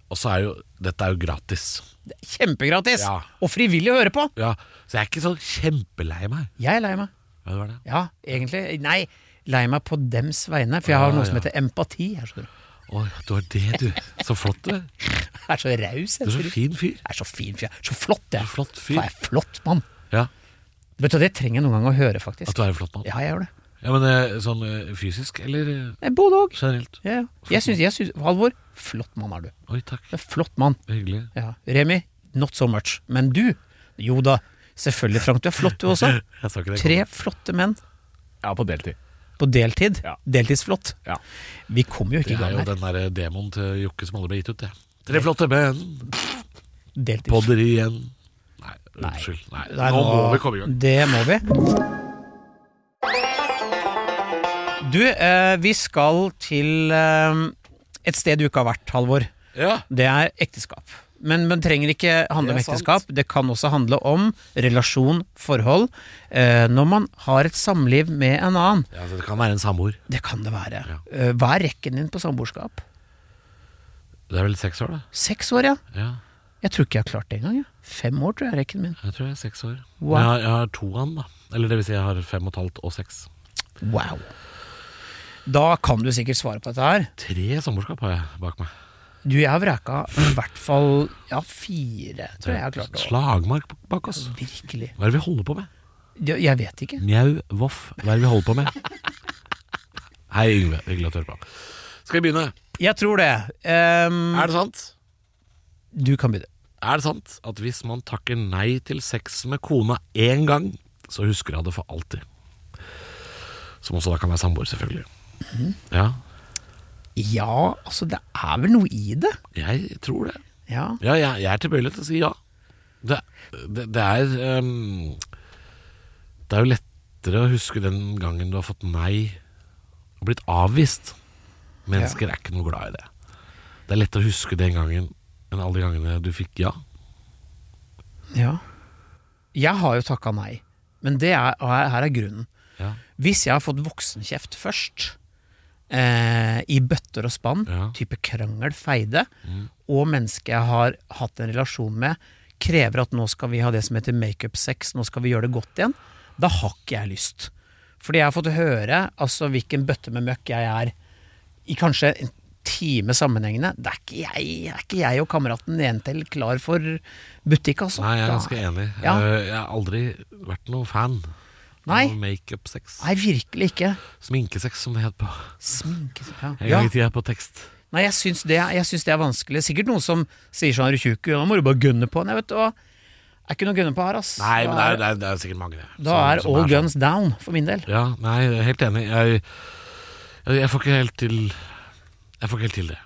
C: Og så er jo Dette er jo gratis.
B: Det er kjempegratis!
C: Ja.
B: Og frivillig å høre på!
C: Ja, så jeg er ikke sånn kjempelei meg.
B: Jeg er lei meg.
C: Ja, det var det.
B: Ja, egentlig. Nei, lei meg på dems vegne, for jeg har
C: Ja,
B: noe som
C: ja.
B: heter empati. Jeg er så,
C: Å, du har det, du. Så flott du er.
B: jeg er så raus.
C: Du er
B: Jeg
C: så fin fyr.
B: Jeg er så fin fyr. Så flott, jeg.
C: Så flott fyr.
B: Faen, jeg er flott mann.
C: Ja,
B: Vet du, Det trenger jeg noen ganger å høre,
C: At
B: faktisk.
C: du er en flott mann.
B: Ja, jeg gjør det.
C: Ja, Men eh, sånn eh, fysisk, eller eh,
B: Jeg bor det òg.
C: generelt?
B: Ja, ja. Jeg syns, jeg syns Halvor, flott mann er du.
C: Oi, takk.
B: Du er Flott mann.
C: Hyggelig.
B: Ja. Remi, not so much. Men du, jo da. Selvfølgelig, Frank. Du er flott, du også.
C: Jeg så ikke det.
B: Tre flotte menn
A: Ja, på deltid.
B: på deltid.
A: Ja.
B: Deltidsflott.
A: Ja.
B: Vi kommer jo ikke
C: Det
B: i
C: er
B: gang
C: jo
B: her.
C: den derre demonen til Jokke som aldri ble gitt ut, det. Tre flotte menn,
B: Deltids...
C: podder igjen. Nei, unnskyld. Nei,
B: Nei,
C: nå må vi komme i gang.
B: Det må vi. Du, eh, vi skal til eh, et sted du ikke har vært, Halvor.
C: Ja,
B: Det er ekteskap. Men men trenger ikke handle om
A: Det er sant.
B: ekteskap. Det kan også handle om relasjon, forhold. Eh, når man har et samliv med en annen.
C: ja så Det kan være en samboer.
B: Det kan det være.
C: Ja.
B: Eh, hva er rekken din på samboerskap?
C: Det er vel seks år, da?
B: Seks år, ja.
C: Ja,
B: Jeg tror ikke jeg har klart det engang. Ja. Fem år, tror jeg er rekken min.
C: jeg tror jeg er seks år.
B: Wow.
C: Men Jeg, har, jeg har to an, da. Eller det vil si, jeg har fem og et halvt og seks.
B: Wow. Da kan du sikkert svare på dette her.
C: Tre samboerskap har jeg bak meg.
B: Du, jeg har vraka i hvert fall ja, fire, tror jeg jeg har klart å
C: Slagmark bak oss.
B: Virkelig.
C: Hva er det vi holder på med?
B: Det- Jeg vet ikke.
C: Mjau, voff, hva er det vi holder på med? Hei, Yngve. Hyggelig å høre på. Skal vi begynne?
B: Jeg tror det. Ehm,
C: Er det sant?
B: du kan begynne.
C: Er det sant at hvis man takker nei til sex med kona én gang, så husker hun det for alltid? Som også da kan være samboer, selvfølgelig. Ja,
B: Ja, altså det er vel noe i det.
C: jeg tror det.
B: Ja.
C: Ja, jeg, jeg er tilbøyelig til å si ja. Det, det, det er ehm, Det er jo lettere å huske den gangen du har fått nei og blitt avvist. Mennesker er ikke noe glad i det. Det er lettere å huske den gangen enn alle de gangene du fikk ja.
B: ja. Jeg har jo takka nei, men det er, og her her er grunnen.
C: Ja,
B: Hvis jeg har fått voksenkjeft først, eh, i bøtter og spann,
C: Ja. Mm.
B: type krangel, feide, og mennesket jeg har hatt en relasjon med, krever at nå skal vi ha det som heter makeup-sex, nå skal vi gjøre det godt igjen, da har ikke jeg lyst. Fordi jeg har fått høre altså, hvilken bøtte med møkk jeg er i kanskje en time sammenhengende. Det er ikke jeg, det er ikke jeg og kameraten Nentel klar for butikk, altså.
C: Nei, jeg er
B: Da-
C: ganske enig. Eh,
B: Ja.
C: Jeg, jeg har aldri vært noen fan
B: Nei.
C: av makeup-sex.
B: Nei, virkelig ikke.
C: Sminkesex, som det het på
B: Sminke ja.
C: en
B: Ja.
C: gang i tida på tekst.
B: Nei, jeg syns, det, jeg syns det er vanskelig. Sikkert noen som sier sånn Er du tjukk? Da må du bare gunne på. Nei, vet du hva. Det er ikke noe å gunne på her, ass.
C: Nei, men det
B: Da
C: er, det er, det er sikkert mange, det.
B: da
C: som-
B: er
C: som
B: all
C: sånn.
B: guns down, for min del.
C: Ja, nei, jeg er helt enig. Jeg, jeg, jeg får ikke helt til Jeg får ikke helt til det.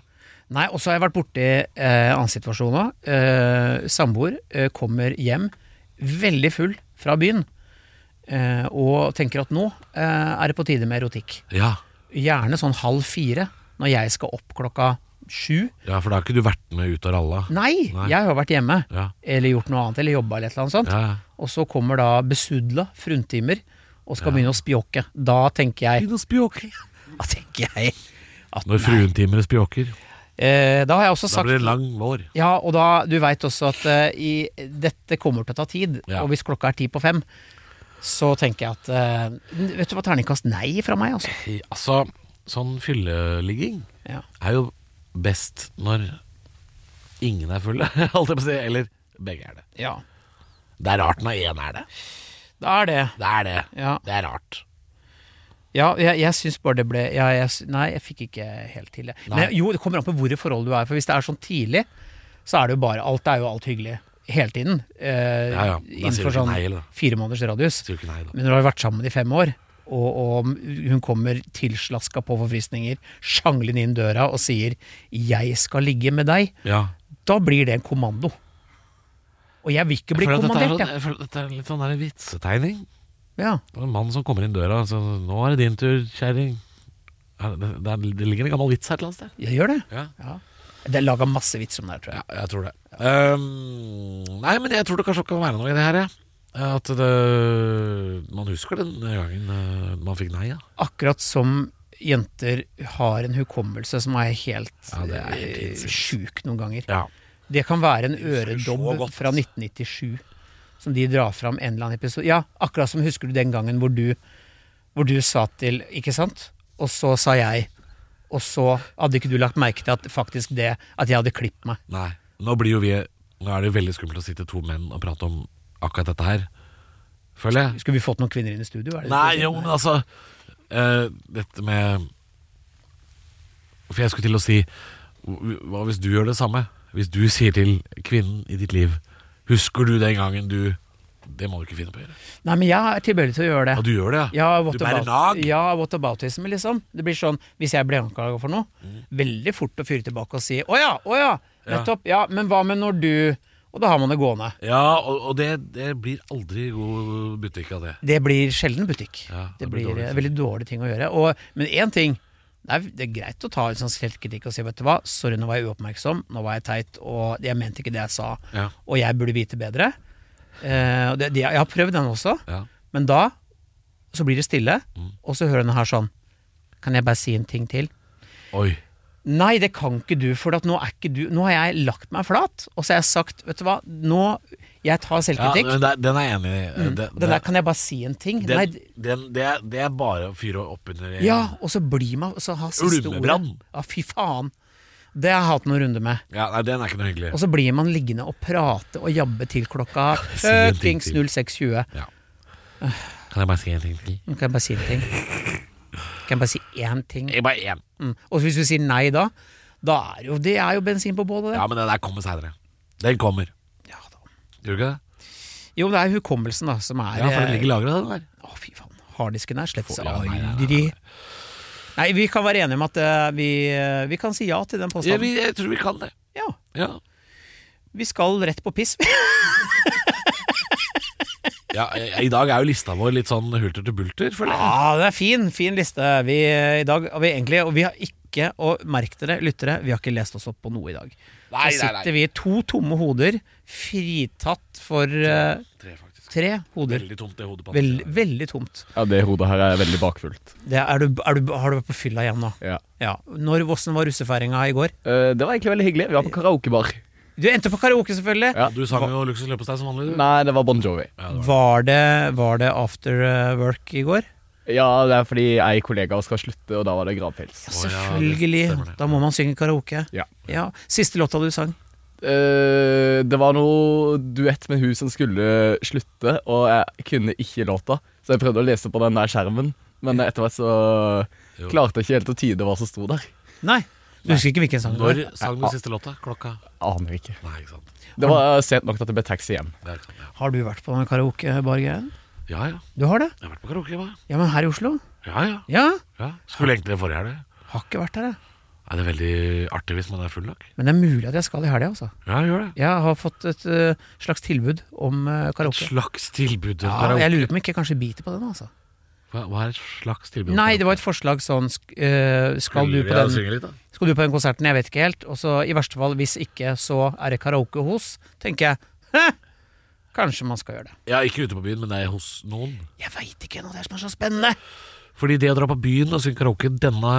B: Nei, og så har jeg vært borti eh, annen situasjon òg. Eh, Samboer eh, kommer hjem veldig full fra byen eh, og tenker at nå eh, er det på tide med erotikk.
C: Ja.
B: Gjerne sånn halv fire, når jeg skal opp klokka sju.
C: ja, for da har ikke du vært med ut og ralla?
B: Nei,
C: Nei.
B: jeg har jo vært hjemme.
C: Ja.
B: Eller gjort noe annet, eller jobba eller et eller annet sånt.
C: Ja, ja.
B: Og så kommer da besudla fruntimer og skal begynne å spjåke. Da tenker jeg
C: Begynn å spjåke.
B: Da tenker jeg at
C: Når fruentimere spjåker,
B: eh, Da har jeg også
C: da
B: sagt
C: blir det lang vår.
B: Ja, og da, du veit også at eh, i, dette kommer til å ta tid,
C: Ja.
B: og hvis klokka er ti på fem, så tenker jeg at eh, Vet du hva, terningkast nei fra meg, altså.
C: I- Altså, sånn fylleligging
B: Ja.
C: er jo best når ingen er fulle, holdt jeg på å si. Eller begge er det.
B: ja.
C: Det er rart når én er det.
B: Da er det
C: Det er det.
B: Ja,
C: Det er rart.
B: ja jeg, jeg syns bare det ble ja, jeg, sy- Nei, jeg fikk ikke helt til det.
C: Nei.
B: Men jo, det kommer an på hvor i forhold du er, for hvis det er sånn tidlig, så er det jo bare Alt er jo alt hyggelig hele tiden. eh,
C: Ja, ja. Da sier du
B: Innenfor
C: ikke
B: sånn
C: nei, eller?
B: fire måneders radius.
C: Sier du ikke nei, da?
B: Men dere har jo vært sammen i fem år, og, og hun kommer tilslaska på forfriskninger, sjanglende inn døra og sier 'jeg skal ligge med deg',
C: Ja.
B: da blir det en kommando. Og jeg vil ikke bli
C: Jeg føler at dette er
B: kommandert,
C: sånn-
B: jeg.
C: jeg. føler at Dette er litt sånn der vitsetegning.
B: Ja.
C: Det er en mann som kommer inn døra og sier 'Nå er det din tur, kjerring'. Er Det, det, er- det ligger en gammel vits her et eller annet sted.
B: Jeg gjør det.
C: Ja.
B: Ja. Det er laga masse vits om det her, tror
C: Ja,
B: jeg.
C: jeg tror det. Ehm, nei, men jeg tror det kanskje kan være noe i det her, jeg. Ja. At det, man husker den gangen eh, man fikk nei, ja.
B: Akkurat som jenter har en hukommelse som er helt,
C: Ja, det er helt
B: eh,
C: sinnssykt.
B: sjuk noen ganger.
C: ja.
B: Det kan være en
C: husker så
B: øredobb
C: godt.
B: fra 1997 som de drar fram en eller annen episode. Ja, akkurat som husker du den gangen hvor du, hvor du sa til Ikke sant? Og så sa jeg Og så hadde ikke du lagt merke til at faktisk det At jeg hadde klippet meg.
C: Nei. Nå blir jo vi Nå er det jo veldig skummelt å sitte to menn og prate om akkurat dette her. Føler jeg.
B: Skulle vi fått noen kvinner inn i studio? Er det
C: Nei, jo, men altså eh, Dette med For jeg skulle til å si Hva hvis du gjør det samme? Hvis du sier til kvinnen i ditt liv Husker du den gangen du Det må du ikke finne på å gjøre.
B: Nei, men jeg er tilbøyelig til å gjøre det.
C: Ja, du gjør det,
B: ja, what
C: du bærer
B: about,
C: nag.
B: ja, what aboutism, liksom. Det blir sånn, Hvis jeg blir anklaga for noe, veldig fort å fyre tilbake og si 'Å ja, å ja,
C: Mm. Ja.
B: nettopp'. Ja, men hva med når du Og da har man det gående.
C: Ja, og, og det, det blir aldri god butikk av det.
B: Det blir sjelden butikk.
C: Ja,
B: det,
C: det blir
B: blir
C: dårlig,
B: eh, veldig dårlige ting å gjøre. Og, men én ting det er, det er greit å ta en sånn selvkritikk og si vet du hva, sorry, nå var jeg uoppmerksom, nå var jeg teit, og jeg mente ikke det jeg sa,
C: Ja.
B: og jeg burde vite bedre. Eh, og det, det, jeg har prøvd den også,
C: Ja.
B: men da så blir det stille,
C: Mm.
B: og så hører den her sånn Kan jeg bare si en ting til?
C: Oi.
B: Nei, det kan ikke du, for at nå, er ikke du, nå har jeg lagt meg flat, og så har jeg sagt Vet du hva, nå Jeg tar
C: Ja,
B: selvkritikk.
C: men det- den er jeg enig i. Det,
B: Mm. den der kan jeg bare si en ting.
C: den,
B: Nei,
C: den, det, er, det er bare å fyre opp under
B: Ja, og så blir man så har siste
C: Ulvebrann.
B: ordet. Ja, fy faen. Det har jeg hatt noen runde med.
C: Ja, nei, den er ikke noe hyggelig.
B: Og så blir man liggende og prate og jabbe til klokka eh,
C: Si en ting
B: fuckings
C: til.
B: 06.20.
C: Ja. Kan jeg bare si en ting til?
B: Nå kan jeg bare si en ting. Kan jeg bare si én ting?
C: Jeg bare én.
B: Mm. Og hvis du sier nei da, da er jo, det er jo bensin på bålet,
C: Ja, men den der kommer seinere. Den kommer.
B: det. Ja, da.
C: Gjør du ikke det?
B: Jo, det er hukommelsen da som er eh,
C: Ja, for den ligger lagra, den der.
B: Å, fy faen. Harddisken er slett
C: Får- ja, nei, nei, nei,
B: aldri Nei, vi kan være enige om at eh, vi, eh, vi kan si ja til den
C: Ja,
B: påstanden.
C: vi, jeg tror vi kan det.
B: Ja,
C: Ja.
B: vi skal rett på piss.
C: ja I i dag er jo lista vår litt sånn hulter til bulter, føler jeg.
B: Ja, Ah, det er fin, fin liste vi, eh, i dag. har Vi egentlig, og vi har ikke, og merk dere, lyttere, vi har ikke lest oss opp på noe i dag.
C: Nei,
B: Så
C: nei, nei.
B: sitter vi i to tomme hoder, fritatt for eh,
C: Tre, faktisk.
B: tre hoder.
C: Veldig tomt i hodet på
B: Veld,
C: andre siden.
B: veldig tomt.
A: Ja, det hodet her er veldig bakfullt.
B: Det er, er du, er du, har du vært på fylla igjen nå?
A: Ja.
B: Ja. Når Vossen var russefeiringa i går?
A: Eh, det var egentlig veldig hyggelig. Vi var på karaokebar.
B: Du endte på karaoke, selvfølgelig.
A: Ja.
C: Du sang jo Luksus løpesteg som vanlig, du.
A: Nei, det var Bon Jovi.
B: Var det, var det after eh, work i går?
A: Ja, det er fordi ei kollega skal slutte, og da var det gravpels.
B: Ja,
C: Å, ja,
B: selvfølgelig.
C: det stemmer det.
B: Da må man synge karaoke.
A: Ja.
B: Ja. Siste låta du sang?
A: Eh, det var noe duett med hun som skulle slutte, og jeg kunne ikke låta. Så jeg prøvde å lese på den der skjermen, men etter hvert så
C: Jo.
A: klarte jeg ikke helt å tyde hva som sto der.
B: Nei. Du husker ikke hvilken sang det var?
C: Når sang du siste låta? Klokka?
A: Aner ikke.
C: Nei, ikke sant.
A: Det var sent nok til at det ble taxi hjem.
C: Der kan jeg.
B: Har du vært på den karaokebargreien?
C: Ja ja.
B: Du har det?
C: Jeg har vært på karaoke, hva?
B: Ja, men her i Oslo?
C: Ja ja.
B: Ja.
C: ja. Skulle egentlig det forrige helg.
B: Har ikke vært her, jeg.
C: Er det veldig artig hvis man er full nok?
B: Men det er mulig at jeg skal i helga, altså.
C: Ja, gjør det.
B: Jeg har fått et eh, slags tilbud om eh,
C: Et
B: karaoke.
C: slags tilbud.
B: Ja,
C: karaoke.
B: jeg lurer på om jeg ikke kanskje biter på den, altså.
C: Hva, hva er et slags tilbud?
B: Nei, det var et forslag sånn sk- eh, skal, du på den,
C: Litt, da?
B: skal du på den konserten? Jeg vet ikke helt. Og så i verste fall, hvis ikke, så er det karaoke hos, tenker jeg. Hæ? Kanskje man skal gjøre det.
C: Ja, ikke ute på byen, men det er hos noen.
B: Jeg veit ikke noe, det er som er så spennende!
C: Fordi det å dra på byen og synge karaoke denne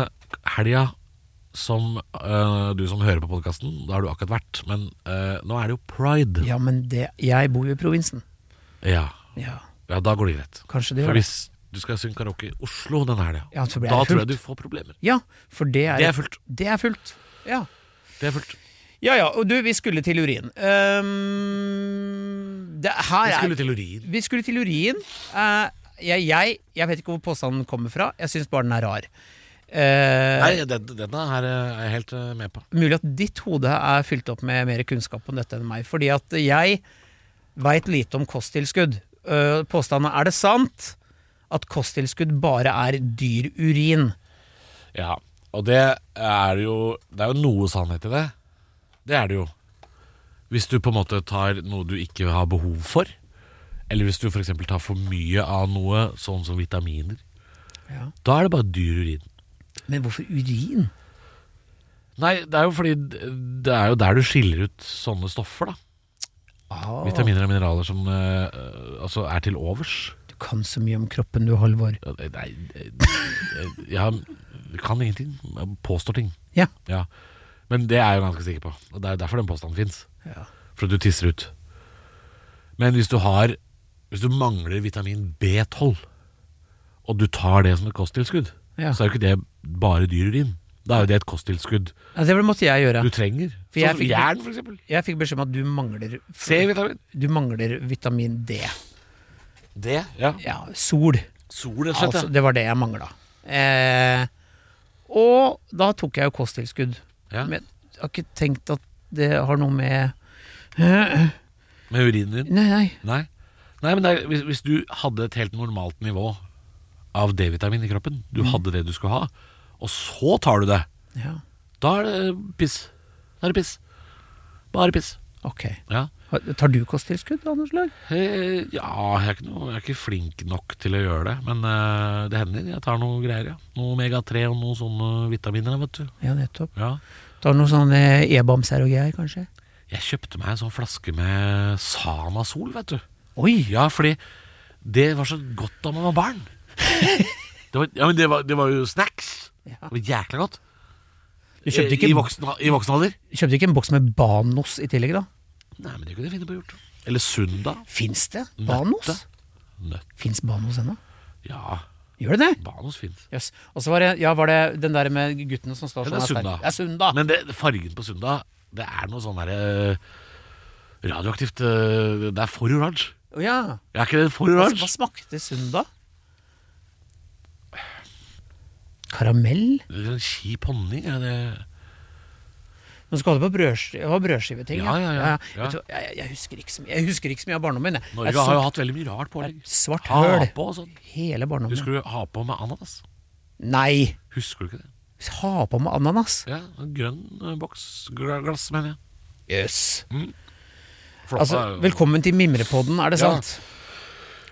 C: helga som øh, du som hører på podkasten, da har du akkurat vært, men øh, nå er det jo pride.
B: Ja, men det Jeg bor jo i provinsen.
C: Ja.
B: Ja,
C: Ja, da går det greit.
B: kanskje det gjør
C: For
B: det.
C: hvis du skal synge karaoke i Oslo denne helga,
B: Ja, så blir
C: da
B: det
C: tror
B: fullt.
C: jeg du får problemer.
B: Ja, for det er,
C: Det er fullt.
B: det er fullt. Ja.
C: Det er fullt.
B: ja ja, og du, vi skulle til urin. Ehm, det her
C: Vi
B: er
C: skulle til urin.
B: Vi skulle til urin. Eh, jeg, jeg, jeg vet ikke hvor påstanden kommer fra. Jeg syns bare den er rar. Eh,
C: Nei, den- denne her øh, er jeg helt øh, med på.
B: Mulig at ditt hode er fylt opp med mer kunnskap om dette enn meg. Fordi at jeg veit lite om kosttilskudd. Eh, påstanden er det sant at kosttilskudd bare er dyr urin?
C: Ja, og det er jo Det er jo noe sannhet i det. Det er det jo. Hvis du på en måte tar noe du ikke har behov for, eller hvis du f.eks. tar for mye av noe, sånn som vitaminer,
B: Ja.
C: da er det bare dyr urin.
B: Men hvorfor urin?
C: Nei, det er jo fordi det er jo der du skiller ut sånne stoffer, da.
B: Ah,
C: Vitaminer og mineraler som eh, eh, altså er til overs.
B: Du kan så mye om kroppen du, Halvor.
C: Ja, det- Nei, eh, jeg, jeg kan ingenting. Jeg påstår ting.
B: Ja.
C: Ja. Men det er jeg jo ganske sikker på. Og Det er derfor den påstanden fins.
B: Ja.
C: For at du tisser ut. Men hvis du har Hvis du mangler vitamin B12, og du tar det som et kosttilskudd,
B: Ja.
C: så er jo ikke det bare dyr urin. Da er jo det et kosttilskudd
B: Ja, det måtte jeg gjøre.
C: du trenger.
B: For jeg
C: sånn som
B: fikk-
C: jern, for eksempel.
B: Jeg fikk beskjed om at du mangler,
C: C-vitamin.
B: du mangler vitamin D.
C: Det. Ja.
B: Ja, sol.
C: Sol, rett og slett.
B: Altså,
C: ja.
B: det var det jeg mangla. Eh, og da tok jeg jo kosttilskudd.
C: Ja.
B: Men jeg har ikke tenkt at det har noe med
C: Med urinen din.
B: Nei, nei.
C: Nei, Nei men det er, hvis, hvis du hadde et helt normalt nivå av D-vitamin i kroppen, du
B: Mm.
C: hadde det du skulle ha, og så tar du det,
B: Ja,
C: da er det piss. Da er det piss. Bare piss.
B: ok.
C: Ja,
B: Har- Tar du kosttilskudd, Anders Lag?
C: Eh, ja jeg, er ikke noe, jeg er ikke flink nok til å gjøre det, men eh, det hender. Jeg tar noe greier, ja. Noe omega-3 og noen sånne vitaminer, vet du.
B: Ja, nettopp.
C: Ja.
B: Tar noe sånn eh, E-bamser og greier, kanskje?
C: Jeg kjøpte meg en sånn flaske med Sanasol, vet du.
B: Oi!
C: Ja, fordi det var så godt da man var barn. Det var, ja, men det var, det var jo snacks.
B: Ja.
C: Det var jækla godt.
B: Du kjøpte
C: Eh, I, i,
B: ikke,
C: voksen, I voksen alder?
B: kjøpte ikke en boks med Banos i tillegg, da?
C: Nei, men det kunne jeg finne på å gjort. Eller Sunda.
B: Fins det
C: Nøtte.
B: Banos?
C: Nøtt.
B: Fins Banos ennå?
C: Ja,
B: Gjør det det?
C: Banos fins.
B: Jøss. Og så var det, ja, var det den der med gutten som står sånn
C: Ja, det er
B: og
C: Sunda.
B: sterk. Det er Sunda.
C: Men det, fargen på Sunda, det er noe sånn derre radioaktivt eh, Det er for oransje.
B: Å ja.
C: Er ikke det for
B: Hva,
C: oransje?
B: hva smakte Sunda? Karamell?
C: Det er en Kjip honning? Er det
B: Nå skal du på brødsk- det var brødskiveting.
C: Ja, ja, ja. Ja.
B: Vet du hva, Jeg, jeg, husker ikke så mye, jeg husker ikke så mye av barndommen. Jeg.
C: Norge
B: Et
C: har jo
B: svart-
C: hatt veldig mye rart pålegg.
B: et svart høl.
C: Hape og sånn.
B: Hele barndommen.
C: Husker du hapa med ananas?
B: Nei!
C: Husker du ikke det?
B: Ha på med ananas.
C: Ja, en grønn eh, boks gla- glass, mener jeg.
B: Jøss.
C: Floppa
B: Altså,
C: er jo-
B: velkommen til Mimrepodden, er det
C: Ja.
B: sant?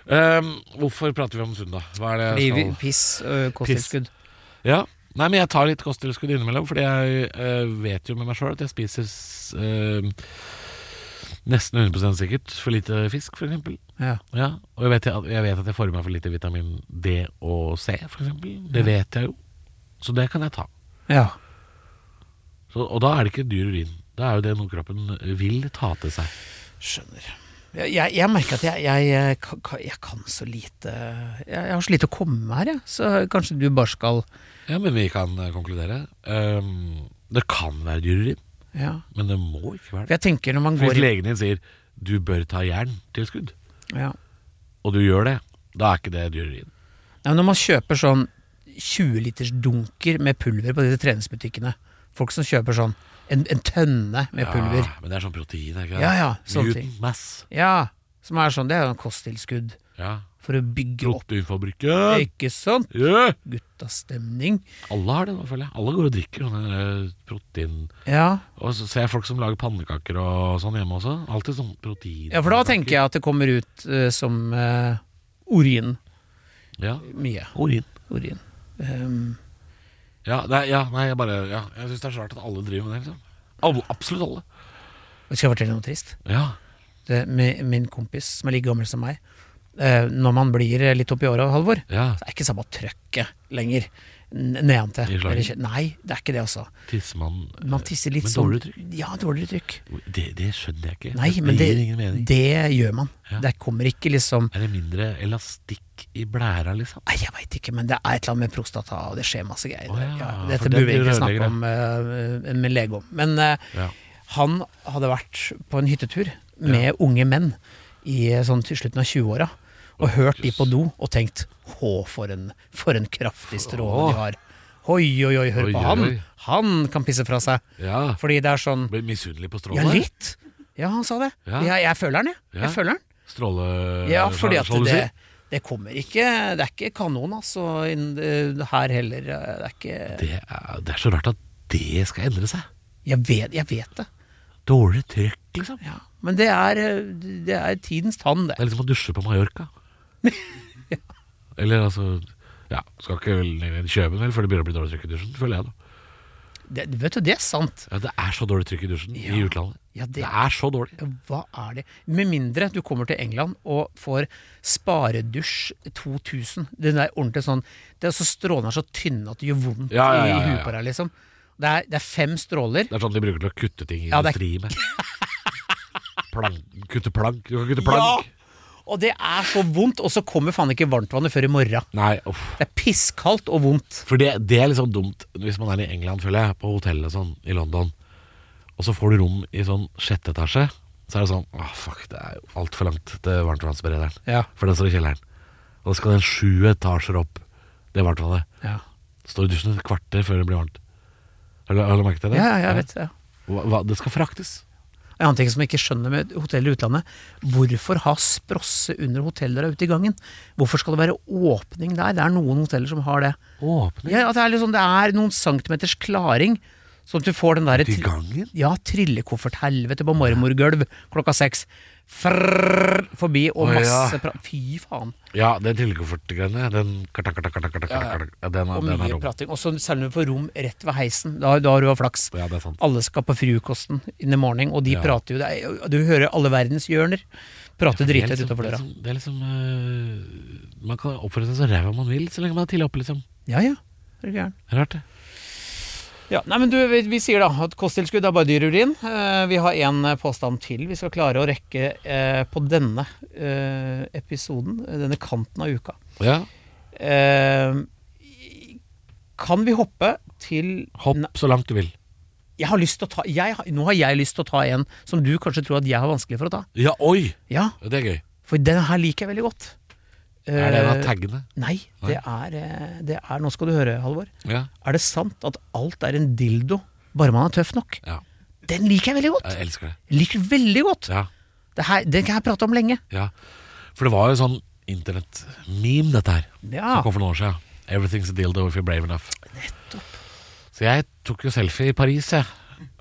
C: Ehm, hvorfor prater vi om Sunda? Hva er det
B: Fordi
C: jeg
B: vi,
C: skal
B: piss, øh, kosttilskudd.
C: Ja. Nei, men jeg tar litt kosttilskudd innimellom, fordi jeg eh, vet jo med meg sjøl at jeg spiser s- eh, nesten 100 sikkert for lite fisk, for eksempel.
B: Ja.
C: Ja, og jeg vet, at- jeg vet at jeg får i meg for lite vitamin D og C, for eksempel. Det vet jeg jo. Så det kan jeg ta.
B: ja.
C: Så, og da er det ikke dyr urin. Da er jo det noe kroppen eh, vil ta til seg.
B: Skjønner. Jeg, jeg, jeg merker at jeg, jeg, eh, ka- ka- jeg kan så lite jeg, jeg har så lite å komme med her, jeg. Så kanskje du bare skal
C: Ja, men vi kan eh, konkludere. Ehm, det kan være dyr urin,
B: Ja.
C: men det må ikke være det.
B: For jeg tenker når man
C: Hvis
B: går i
C: legen din sier du bør ta jerntilskudd,
B: ja.
C: og du gjør det, da er ikke det dyrerin.
B: Nei, men Når man kjøper sånn 20 liters dunker med pulver på disse treningsbutikkene Folk som kjøper sånn en, en tønne med pulver.
C: Ja, Ah, men det er sånn protein, er ikke det?
B: Ja, ja, sånne
C: Mutant
B: ting.
C: mass.
B: Ja, Som er sånn Det er jo en kosttilskudd.
C: Ja.
B: for å bygge opp.
C: Proteinfabrikken!
B: Ikke sant?
C: Yeah!
B: Guttastemning.
C: Alle har det nå, føler jeg. Alle går og drikker sånne der, eh, protein...
B: Ja.
C: Og så ser jeg folk som lager pannekaker og sånn hjemme også. Alltid sånn protein.
B: ja, for da tenker jeg at det kommer ut eh, som eh, urin.
C: Ja,
B: Mye
C: urin.
B: urin. Ehm,
C: Ja, nei, ja, nei, jeg bare ja. Jeg syns det er så rart at alle driver med det. liksom alle, Absolutt alle.
B: skal jeg fortelle noe trist?
C: Ja.
B: Det, med min kompis, som er like gammel som meg. eh, når man blir eh, litt oppi åra, Halvor,
C: ja.
B: så er ikke samme trøkket lenger n- nedantil.
C: I slaget?
B: Eller ikke- Nei, det er ikke det, altså.
C: Tissemann
B: Man tisser litt
C: Men
B: sånn
C: dårligere
B: Ja, dårligere trykk.
C: det, det skjønner jeg ikke.
B: Nei,
C: det,
B: men det,
C: gir ingen mening.
B: det gjør man.
C: Ja.
B: Det kommer ikke liksom
C: Er det mindre elastikk i blæra, liksom?
B: Nei, jeg veit ikke, men det er et eller annet med prostata, og det skjer masse greier.
C: Å ja, for
B: dette
C: den
B: burde vi egentlig
C: blir
B: snakke om eh, med lege om. Men eh,
C: Ja.
B: han hadde vært på en hyttetur med unge menn i eh, sånn til slutten av 20-åra, og hørt de på do og tenkt Hå, for en, for en kraftig stråle de har. Hoi, oi, oi, hør
C: Oi,
B: på
C: oi,
B: han!
C: oi.
B: Han kan pisse fra seg.
C: Ja.
B: Fordi det er sånn
C: Blir misunnelig
B: Ja,
C: på strålen? der.
B: litt. Ja, han sa det.
C: Ja.
B: Ja, jeg føler den, jeg.
C: Ja.
B: Jeg føler den.
C: Stråle...
B: Ja, fordi at
C: sjalusi?
B: det, det kommer ikke Det er ikke kanon, altså, inn- eh, her heller. eh, Det er ikke
C: det er, det er så rart at det skal endre seg.
B: Jeg vet, jeg vet det.
C: Dårlig trøkk, liksom.
B: Ja. Men det er, eh, det er tidens tann, det.
C: Det er liksom å dusje på Mallorca. Eller altså Ja, skal ikke vel ned i kjøben, vel, for det begynner å bli dårlig trykk i dusjen, føler jeg. da
B: det. Vet du, det er sant.
C: ja, Det er så dårlig trykk i dusjen i utlandet.
B: Ja, det-
C: det er så dårlig.
B: Hva er det? Med mindre du kommer til England og får sparedusj 2000. Den der ordentlig sånn det er så Strålene er så tynne at det gjør vondt
C: Ja, ja, ja,
B: i
C: ja,
B: huet på deg, liksom. Det er, det er fem stråler.
C: Det er sånn de bruker til å kutte ting i
B: Ja, det er-
C: industri med. Plank, kutte plank. Du kan kutte plank.
B: Og det er så vondt, og så kommer faen ikke varmtvannet før i morgen.
C: Nei, uff.
B: Det er pisskaldt og vondt.
C: For det, det er liksom dumt hvis man er i England, føler jeg, på hotell og sånn i London. Og så får du rom i sånn sjette etasje. Så er det sånn Åh, fuck, det er jo altfor langt til varmtvannsberederen.
B: Ja.
C: For den står i kjelleren. Og så skal den sju etasjer opp, det varmtvannet.
B: Ja,
C: Står i dusjen et kvarter før det blir varmt. Har du, har du merket det?
B: ja, jeg vet det.
C: Hva, hva, det skal fraktes.
B: En annen ting som jeg ikke skjønner med hotell i utlandet, hvorfor ha sprosse under hotelldøra ute i gangen? Hvorfor skal det være åpning der? Det er noen hoteller som har det.
C: Åpne
B: Ja, at det, er liksom, det er noen centimeters klaring, sånn at du får den derre
C: i gangen.
B: ja, trillekofferthelvete på marmorgulv klokka seks. Frrrr, forbi og
C: Å, ja.
B: masse pra Fy faen.
C: Ja, den trillekoffertgreiene. Den kartak, kartak, kartak, kartak, kartak, ja, den, er-
B: Og
C: den er
B: mye
C: dum.
B: prating. Og så selv om du får rom rett ved heisen, da, da har du hatt flaks.
C: Ja, det er sant.
B: Alle skal på frokosten in the morning, og de
C: Ja.
B: prater jo det er jo- Du hører alle verdens hjørner prate
C: Det er
B: drithøyt
C: liksom-
B: utenfor døra.
C: Det er liksom, det er liksom øh, Man kan oppføre seg så ræva man vil, så lenge man er tidlig oppe, liksom.
B: Ja ja. Er du gæren?
C: Rart, det.
B: Ja, nei, men du, vi, vi sier da at kosttilskudd er bare dyr urin. Eh, vi har én påstand til vi skal klare å rekke eh, på denne eh, episoden, eh, denne kanten av uka.
C: Ja.
B: Eh, kan vi hoppe til
C: Hopp
B: Nei,
C: så langt du vil.
B: Jeg har lyst til å ta jeg, har- Nå har jeg lyst til å ta en som du kanskje tror at jeg har vanskelig for å ta.
C: Ja, oi!
B: Ja,
C: Det er gøy.
B: For den her liker jeg veldig godt.
C: Er det en av
B: Eh,
C: taggene?
B: Nei, det er, eh, det er Nå skal du høre, Halvor.
C: Ja.
B: Er det sant at alt er en dildo, bare man er tøff nok?
C: ja.
B: Den liker jeg veldig godt.
C: Jeg elsker det.
B: Liker veldig godt.
C: Ja.
B: Det her, den kan jeg prate om lenge.
C: ja. For det var jo sånn internett-meme, dette her,
B: Ja.
C: som kom for noen år siden. Everything's a dildo if you're brave enough. Så jeg tok jo selfie i Paris, jeg.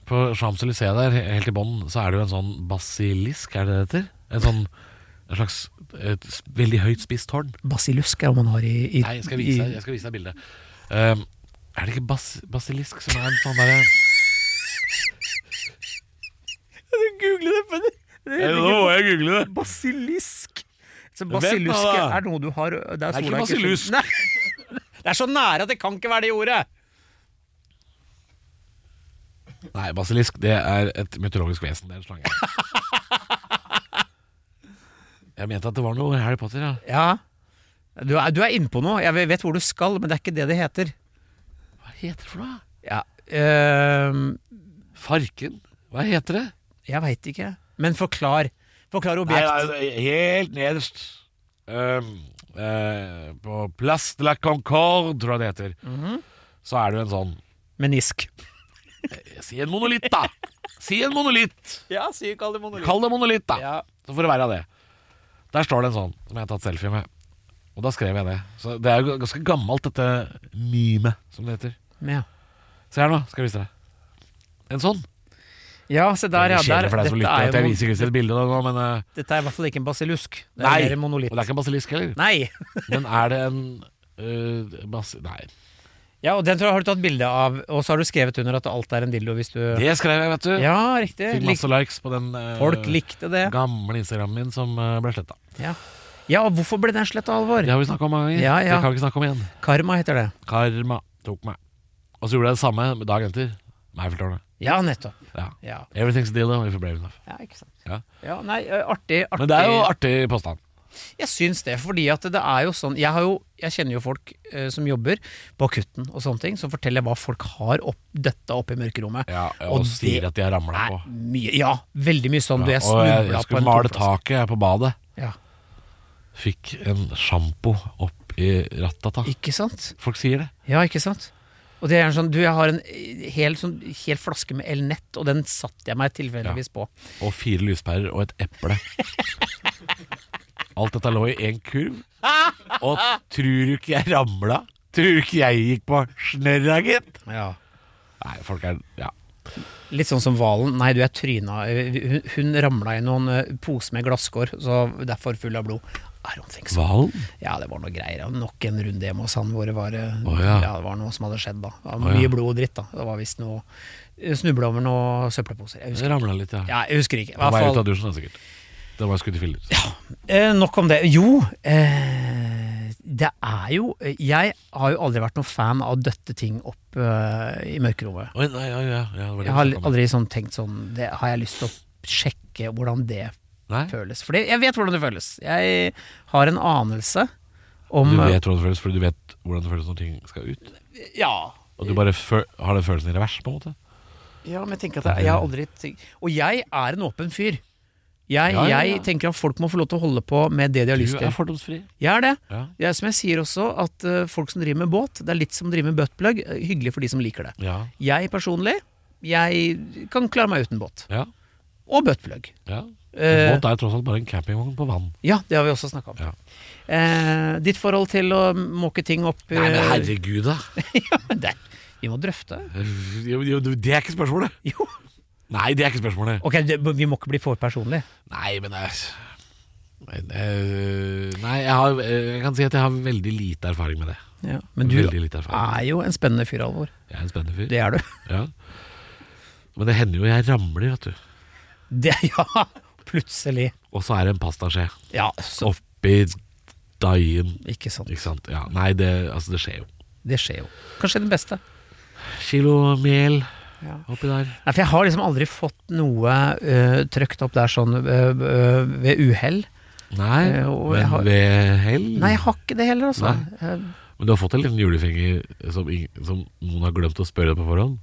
C: På Champs-Élysées der, helt i bånn, så er det jo en sånn basilisk, er det det heter? En sånn en slags et s- veldig høyt spist tårn.
B: Basilusk er hva man har i, i
C: Nei, jeg skal vise deg,
B: i-
C: jeg skal vise deg bildet. Ehm, er det ikke bas basilisk som er en sånn derre
B: Google det, men det- det heter ikke
C: jeg googler det.
B: Basilisk. Så
C: Vent nå,
B: basilusk
C: da.
B: er noe du har Det er,
C: ikke
B: sola
C: basilusk.
B: Nei. Det er så nære at det kan ikke være det ordet.
C: Nei, basilisk det er et mytologisk vesen. Det er en slange. Jeg mente at det var noe Harry Potter, ja.
B: Ja. Du er, du er innpå noe. Jeg vet hvor du skal, men det er ikke det det heter.
C: Hva heter det for noe?
B: Ja, øhm,
C: Farken? Hva heter det?
B: jeg veit ikke. Men forklar. Forklar objekt.
C: Nei, nei, helt nederst. Ehm, eh, på Place de la Concorde, tror jeg det heter. Så er det jo en sånn
B: Menisk.
C: Si en monolitt, da! Si en monolitt!
B: Ja, syk alle monolitt.
C: Kall det monolitt, da!
B: Ja.
C: Så får det være av det. Der står det en sånn som jeg har tatt selfie med. Og da skrev jeg det. Så det er jo ganske gammelt, dette mime, som det heter.
B: Ja,
C: Se her nå, skal jeg vise deg. En sånn.
B: ja se der, ja.
C: det er
B: Der,
C: kjedelig for deg
B: dette,
C: som lytter
B: er
C: at jeg
B: jo,
C: viser ikke et bilde av det nå, men eh,
B: dette er i hvert fall ikke en basilisk. Det
C: Nei,
B: er mer en
C: Og
B: monolitt.
C: det er ikke en basilisk heller.
B: Nei!
C: Men er det en eh, bas Nei.
B: Ja, og den tror jeg har du tatt bilde av, og så har du skrevet under at alt er en dildo hvis du
C: Det skrev jeg, vet du.
B: Ja, riktig.
C: Fikk
B: Lik,
C: masse likes på den eh,
B: folk likte det.
C: gamle Instagramen min som eh, ble sletta.
B: Ja. ja, og hvorfor ble den sletta, Alvor?
C: Det har vi snakka om mange ganger.
B: Ja, ja.
C: Det kan vi ikke snakke om igjen.
B: Karma heter det.
C: Karma tok meg. Og så gjorde jeg det samme dagen etter. Med Eiffeltårnet.
B: Ja, nettoff.
C: Ja.
B: Ja.
C: Everything's a deal though, if you're brave enough.
B: ja, ikke sant.
C: Ja.
B: nei, ø, artig, artig.
C: Men det er jo artig påstand.
B: Jeg syns det, fordi at det er jo sånn Jeg, har jo, jeg kjenner jo folk eh, som jobber på akutten og sånne ting, som forteller hva folk har opp, døtta oppe i mørkerommet.
C: Ja, og,
B: Og
C: sier
B: det
C: at de har ramla
B: er
C: på.
B: mye, ja, veldig mye sånn. Du,
C: Ja,
B: jeg
C: og jeg, jeg
B: snubla på
C: skulle
B: en
C: male
B: tåplass.
C: taket jeg på badet.
B: Ja,
C: Fikk en sjampo opp i rattata.
B: ikke sant?
C: Folk sier det.
B: Ja, ikke sant? Og det er en sånn, du, jeg har en eh, hel, sånn, hel flaske med El Nett, og den satte jeg meg tilfeldigvis på.
C: Og fire lyspærer og et eple. Alt dette lå i én kurv. Og tror du ikke jeg ramla? Tror du ikke jeg gikk på snørra, gitt? Nei, folk er Ja.
B: Litt sånn som hvalen. Nei, du er tryna eh, Hun, hun ramla i noen eh, pose med glasskår, så derfor full av blod. I don't think so.
C: Hvalen?
B: Ja, det var noe greier. Og Nok en runde hjemme hos han hvor det var, eh,
C: Å, ja.
B: det var noe som hadde skjedd, da. Det var
C: Å, ja.
B: mye blod og dritt, da. Det var visst noe Snubla over noen søppelposer. Jeg husker,
C: Ramla litt, ja.
B: ja, jeg husker ikke. I
C: På
B: hvert
C: vei ut av
B: fall.
C: dusjen, da, sikkert. Det var skutt i filler.
B: Eh, nok om det. Jo, eh, det er jo Jeg har jo aldri vært noen fan av å døtte ting opp eh, i mørkerommet.
C: Oi, nei, ja, ja, ja, det var det
B: Jeg har
C: vi snakket om.
B: aldri sånn tenkt sånn det, Har jeg lyst til å sjekke hvordan det
C: Nei?
B: føles? For det- jeg vet hvordan det føles. Jeg har en anelse om
C: Du vet hvordan det føles, fordi du vet hvordan det føles når ting skal ut.
B: Ja.
C: Og du bare fø- har den følelsen i revers, på en måte.
B: Ja, men jeg tenker at jeg, jeg har aldri tenkt Og jeg er en åpen fyr. Jeg,
C: Ja, ja, ja.
B: jeg tenker at folk må få lov til å holde på med det de har lyst
C: Du er
B: til.
C: fordomsfri.
B: Jeg er det.
C: Ja.
B: Det er som jeg sier også, at eh, folk som driver med båt, det er litt som å drive med buttplug. eh, Hyggelig for de som liker det.
C: Ja.
B: Jeg personlig, jeg kan klare meg uten båt.
C: Ja.
B: Og buttplug.
C: ja.
B: Eh.
C: Båt er tross alt bare en campingvogn på vann.
B: Ja, det har vi også snakka om.
C: Ja.
B: Eh, ditt forhold til å måke ting opp
C: Nei, men
B: eh,
C: herregud, da.
B: ja, men det, Vi må drøfte.
C: Jo, jo, Det er ikke spørsmålet.
B: Jo.
C: Nei, det er ikke spørsmålet.
B: Ok, det, vi må ikke bli for personlige.
C: Nei, men det er men, eh, Nei, jeg, har, eh, jeg kan si at jeg har veldig lite erfaring med det.
B: Ja. Men du Ah.
C: Veldig lite erfaring.
B: er jo en spennende fyr, Alvor.
C: Jeg er en spennende fyr.
B: Det er du.
C: Ja. Men det hender jo jeg ramler, vet du.
B: Det, ja, plutselig.
C: Og så er det en pastaskje
B: Ja, så,
C: oppi daien.
B: ikke sant.
C: Ikke sant? Ja, nei, det, altså, det skjer jo.
B: Det skjer jo. Kanskje den beste.
C: Kilo mel
B: Ja.
C: oppi der.
B: Nei, for jeg har liksom aldri fått noe øh, trøkt opp der sånn øh, øh, ved uhell.
C: Nei,
B: Eh, og jeg
C: men
B: har-
C: ved hell.
B: Nei, jeg har ikke det heller, altså. Eh,
C: Men du har fått en liten julefinger som, ing- som noen har glemt å spørre deg på forhånd?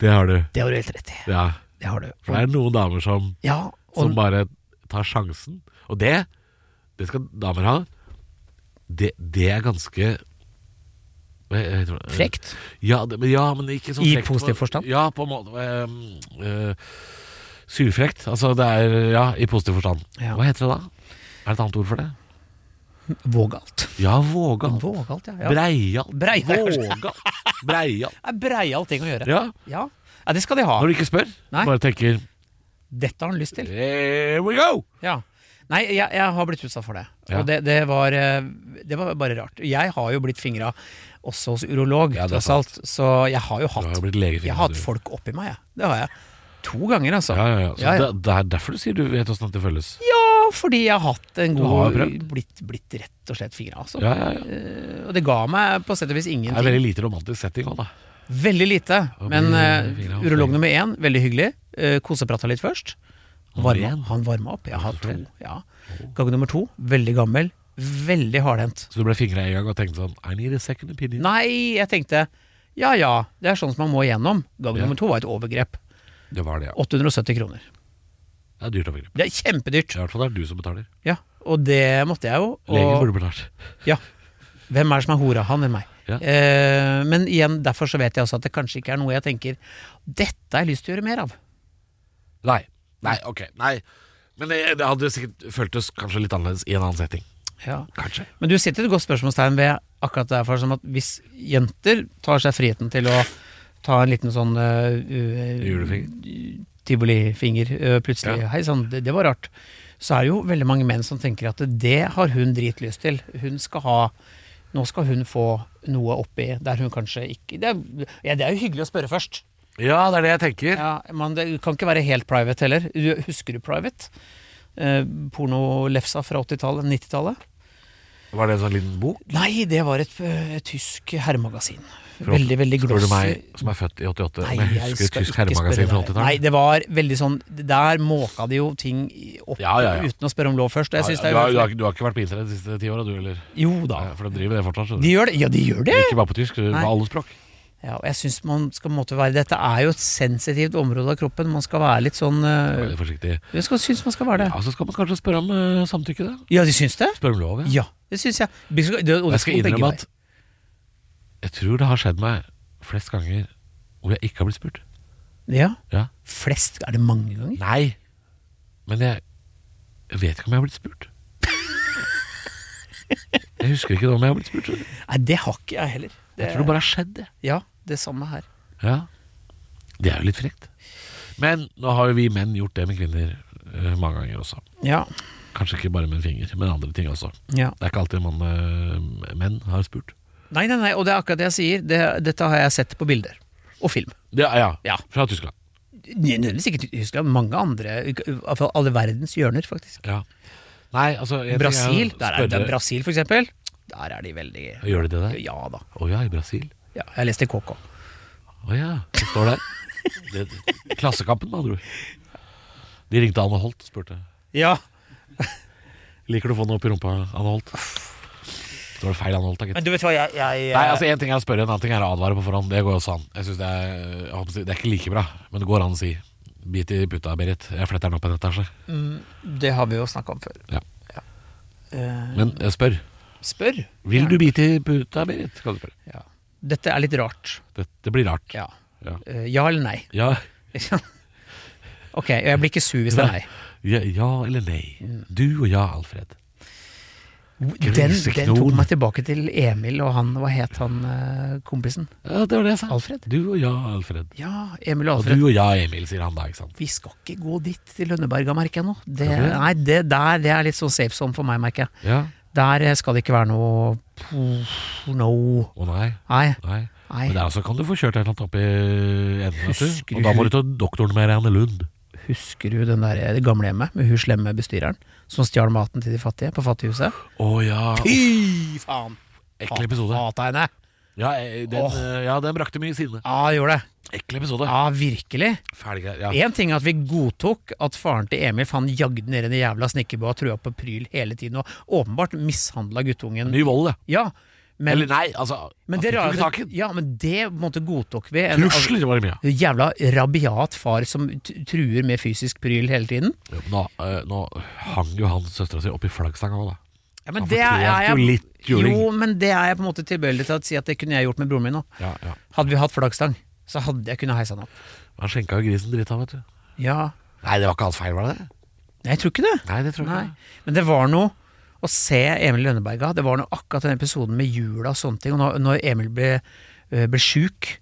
C: Det har du.
B: Det har du helt rett i.
C: Ja.
B: Det har du.
C: For det er noen damer som,
B: Ja,
C: som
B: og,
C: bare tar sjansen. Og det, det skal damer ha. Det, det er ganske hva heter det?
B: frekt.
C: Ja, det, men, ja, men ikke sånn
B: I
C: frekt
B: positiv
C: på-
B: forstand?
C: Ja, på en måte ehm, eh, Surfrekt. Altså det er Ja, i positiv forstand.
B: Ja.
C: Hva heter det da? Er det et annet ord for det?
B: Vågalt.
C: Ja, vågal.
B: Vågalt, ja. ja.
C: Breial.
B: Breial, kanskje.
C: Vågal. Breial.
B: Det er breial ting å gjøre.
C: Ja.
B: Ja. ja, det skal de ha.
C: Når du ikke spør,
B: Nei.
C: bare tenker
B: Dette har han lyst til.
C: Here we go!
B: Ja. Nei, jeg, jeg har blitt utsatt for det.
C: Ja.
B: Og det, det, var, eh, det var bare rart. Jeg har jo blitt fingra også hos urolog,
C: Ja, det er
B: tross alt. Så jeg har jo
C: Du har
B: hatt,
C: jo blitt legefinger.
B: jeg har hatt
C: du.
B: folk oppi meg, jeg. Det har jeg. To ganger, altså.
C: Ja, ja, ja. Så
B: Ja, ja.
C: Det, det er derfor du sier du vet åssen det føles.
B: Ja, fordi jeg har hatt en
C: Du har
B: god
C: jo prøvd.
B: blitt, blitt rett og slett fingra, altså. Eh,
C: Ja, ja, ja.
B: Og det ga meg på sett og vis
C: Det er
B: ingenting.
C: veldig lite romantisk setting òg, da.
B: Veldig lite.
C: Og
B: Men
C: blir
B: eh,
C: fingra opp.
B: urolog nummer én, veldig hyggelig. Uh, Koseprata litt først. Han varma,
C: igjen?
B: han varma opp. Jeg har to.
C: Flere?
B: Ja. Gang nummer to, veldig gammel. Veldig hardhendt.
C: Så du ble fingra en gang og tenkte sånn I need a second opinion.
B: Nei, jeg tenkte ja ja, det er sånn som man må igjennom. Gang
C: Ja.
B: nummer to var et overgrep.
C: Det var det, ja.
B: 870 kroner.
C: Det er dyrt overgrep.
B: Det er kjempedyrt.
C: I hvert fall det er du som betaler.
B: Ja, Og det måtte jeg jo.
C: Legen
B: Og
C: burde betalt.
B: ja, hvem er det som er hora? Han eller meg?
C: Ja.
B: Eh, men igjen, derfor så vet jeg også at det kanskje ikke er noe jeg tenker Dette har jeg lyst til å gjøre mer av.
C: Nei. Nei, ok. Nei. Men det, det hadde sikkert føltes kanskje litt annerledes i en annen setting.
B: Ja.
C: Kanskje.
B: Men du setter et godt spørsmålstegn ved akkurat det her, for som at hvis jenter tar seg friheten til å ta en liten sånn eh, u- tivolifinger eh, plutselig
C: Ja.
B: Hei sann, det, det var rart. Så er det jo veldig mange menn som tenker at det har hun dritlyst til. Hun skal ha Nå skal hun få noe oppi der hun kanskje ikke Det er, ja, det er jo hyggelig å spørre først.
C: Ja, det er det jeg tenker.
B: Ja, men det kan ikke være helt private heller. Du- Husker du private? Eh, Pornolefsa fra 80-tallet, 90-tallet?
C: Var det en sånn liten bok?
B: Nei, det var et ø, tysk herremagasin.
C: Fra-
B: Veldig, veldig
C: Spør du
B: glossy.
C: meg som er født i 88,
B: Nei,
C: om jeg
B: jeg
C: husker et
B: skal
C: tysk
B: ikke
C: herremagasin
B: spørre
C: fra
B: deg. Nei,
C: 80-tallet?
B: det var veldig sånn Der måka de jo ting i- opp
C: Ja, ja, ja.
B: uten å spørre om lov først. og Jeg synes
C: Ja,
B: det
C: du,
B: er
C: har, du,
B: jo
C: har, ikke- du har ikke vært på internett de siste ti åra, du heller?
B: Jo da.
C: Ja, for de driver det fortsatt. skjønner du.
B: De gjør det. Ja, de gjør det!
C: Ikke bare på tysk, men
B: Nei.
C: på alle språk.
B: Ja, og jeg synes man skal på en måte være Dette er jo et sensitivt område av kroppen. Man skal være litt sånn ø,
C: Veldig forsiktig.
B: Jeg skal synes man skal være det.
C: Ja, Så skal man kanskje spørre om eh, samtykke, da.
B: Ja, de syns det?
C: Spørre om lov, ja.
B: Ja, det syns jeg. Det, og det
C: Jeg skal
B: gå begge
C: innrømme
B: veier.
C: at jeg tror det har skjedd meg flest ganger hvor jeg ikke har blitt spurt.
B: Ja.
C: Ja.
B: Flest? Er det mange ganger?
C: Nei. Men jeg, jeg vet ikke om jeg har blitt spurt. Jeg husker ikke om jeg har blitt spurt. skjønner du.
B: Nei, det har ikke jeg heller. Det,
C: Jeg tror det bare har skjedd, jeg.
B: Ja, det samme her.
C: Ja. Det er jo litt frekt. Men nå har jo vi menn gjort det med kvinner eh, mange ganger også.
B: Ja.
C: Kanskje ikke bare med en finger, men andre ting også.
B: ja.
C: Det er ikke alltid man, eh, menn har spurt.
B: Nei, nei, nei, og det er akkurat det jeg sier. Det, dette har jeg sett på bilder. Og film.
C: Ja, ja,
B: Ja.
C: Fra Tyskland.
B: Nø- Nødvendigvis ikke til Tyskland, mange andre. i- i hvert fall alle verdens hjørner, faktisk.
C: Ja. Nei, altså en ting er å
B: Brasil, der er,
C: spørre-
B: det er Brasil for eksempel. Der er de veldig
C: Gjør de det der?
B: Ja da.
C: Å ja, i Brasil.
B: Ja, jeg leste KK.
C: Å ja, det står der. Det, det, klassekampen, med andre ord. De ringte Anne Holt og spurte
B: Ja.
C: Liker du å få noe opp i rumpa, Anne Holt. Så var det feil Anne Holt, da, gitt.
B: Men du vet hva, jeg, jeg
C: Nei, altså Én ting er å spørre, en annen ting er å advare på forhånd. Det går også an. Jeg synes det, er, jeg håper, å si- det er ikke like bra, men det går an å si. Bit i puta, Berit. Jeg fletter den opp en etasje.
B: Det har vi jo snakka om før.
C: Ja.
B: Eh,
C: Men jeg spør.
B: spør.
C: Vil du bite i puta, Berit? Skal du spørre.
B: Ja. Dette er litt rart.
C: Det, det blir rart.
B: Ja.
C: Ja.
B: Eh, ja eller nei? liksom.
C: Ja,
B: ok, og jeg blir ikke sur hvis det er nei.
C: ja, ja eller nei. Du og ja, Alfred.
B: Den, den tok
C: Griseknon.
B: meg tilbake til Emil og han, hva het han eh, kompisen?
C: Ja, Det var det jeg sa.
B: Alfred?
C: Du og ja, Alfred.
B: Ja, Emil og
C: Og
B: Alfred.
C: du og jeg, Emil, sier han da, ikke sant?
B: Vi skal ikke gå dit til Lønneberga, merker jeg nå. Det,
C: Skal vi det?
B: nei, det der det er litt sånn safe zone for meg, merker jeg.
C: Ja.
B: Der eh, skal det ikke være noe Puh, No.
C: Å nei.
B: Nei.
C: Nei.
B: nei.
C: Men der også kan du få kjørt et eller annet opp i enden, vet
B: Husker
C: du. Og da
B: du-
C: må du ta doktoren med Reane Lund.
B: Husker du den der, eh, det gamlehjemmet med hun slemme bestyreren som stjal maten til de fattige på Fattighuset?
C: Å ja.
B: Fy faen!
C: Ekkel episode.
B: Hata henne.
C: Ja, eh, den,
B: Åh.
C: eh, ja, den brakte mye sinne.
B: Ja, gjorde det.
C: Ekkel episode.
B: Ja, virkelig.
C: Ferdig greier. Ja.
B: Én ting er at vi godtok at faren til Emil faen jagde ned i den jævla snekkerbua og trua på pryl hele tiden, og åpenbart mishandla guttungen.
C: Ny vold, ja.
B: Ja, men
C: Eller nei, altså.
B: Men
C: han
B: det,
C: fikk jo
B: rare,
C: ikke tak i den.
B: ja, men det på en måte godtok vi. En-
C: Trusler var det mye av.
B: av- Jævla rabiat far som t- truer med fysisk pryl hele tiden.
C: Ja, men Nå, eh, nå hang jo han søstera si opp i flaggstanga òg, da.
B: Ja, men
C: Han
B: det er
C: fortjente
B: jeg,
C: jo litt juling.
B: Jo, men det er jeg på en måte tilbøyelig til å si at det kunne jeg gjort med broren min òg.
C: Ja, ja.
B: Hadde vi hatt flaggstang, så hadde jeg kunnet heisa han opp.
C: Han skjenka jo grisen dritt av, vet du.
B: Ja,
C: Nei, det var ikke hans feil, var det det?
B: Nei, jeg tror ikke det.
C: Nei, det tror jeg
B: Nei.
C: ikke.
B: Men det var noe å se Emil Lønneberga. Det var noe akkurat den episoden med jula og sånne ting. Og når, når Emil ble, eh, ble sjuk,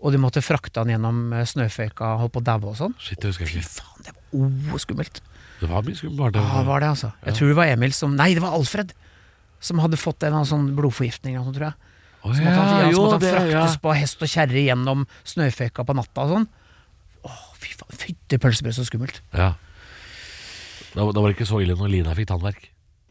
B: og de måtte frakte han gjennom eh, snøføyka, holdt på å daue og sånn.
C: Shit, det husker
B: Fy
C: jeg ikke.
B: faen, det var oh, skummelt.
C: Det var mye skummelt.
B: Ja, det
C: var det.
B: var det, altså. Jeg tror det var Emil som Nei, det var Alfred! Som hadde fått en eller annen sånn blodforgiftning eller noe, tror jeg.
C: Å,
B: Så måtte han, ja, så måtte han
C: det- ja.
B: fraktes på hest og kjerre gjennom snøføyka på natta og sånn. Åh, fy faen. Fytti pølsebrød, så skummelt.
C: Ja. Da, da var det ikke så ille når Lina fikk tannverk.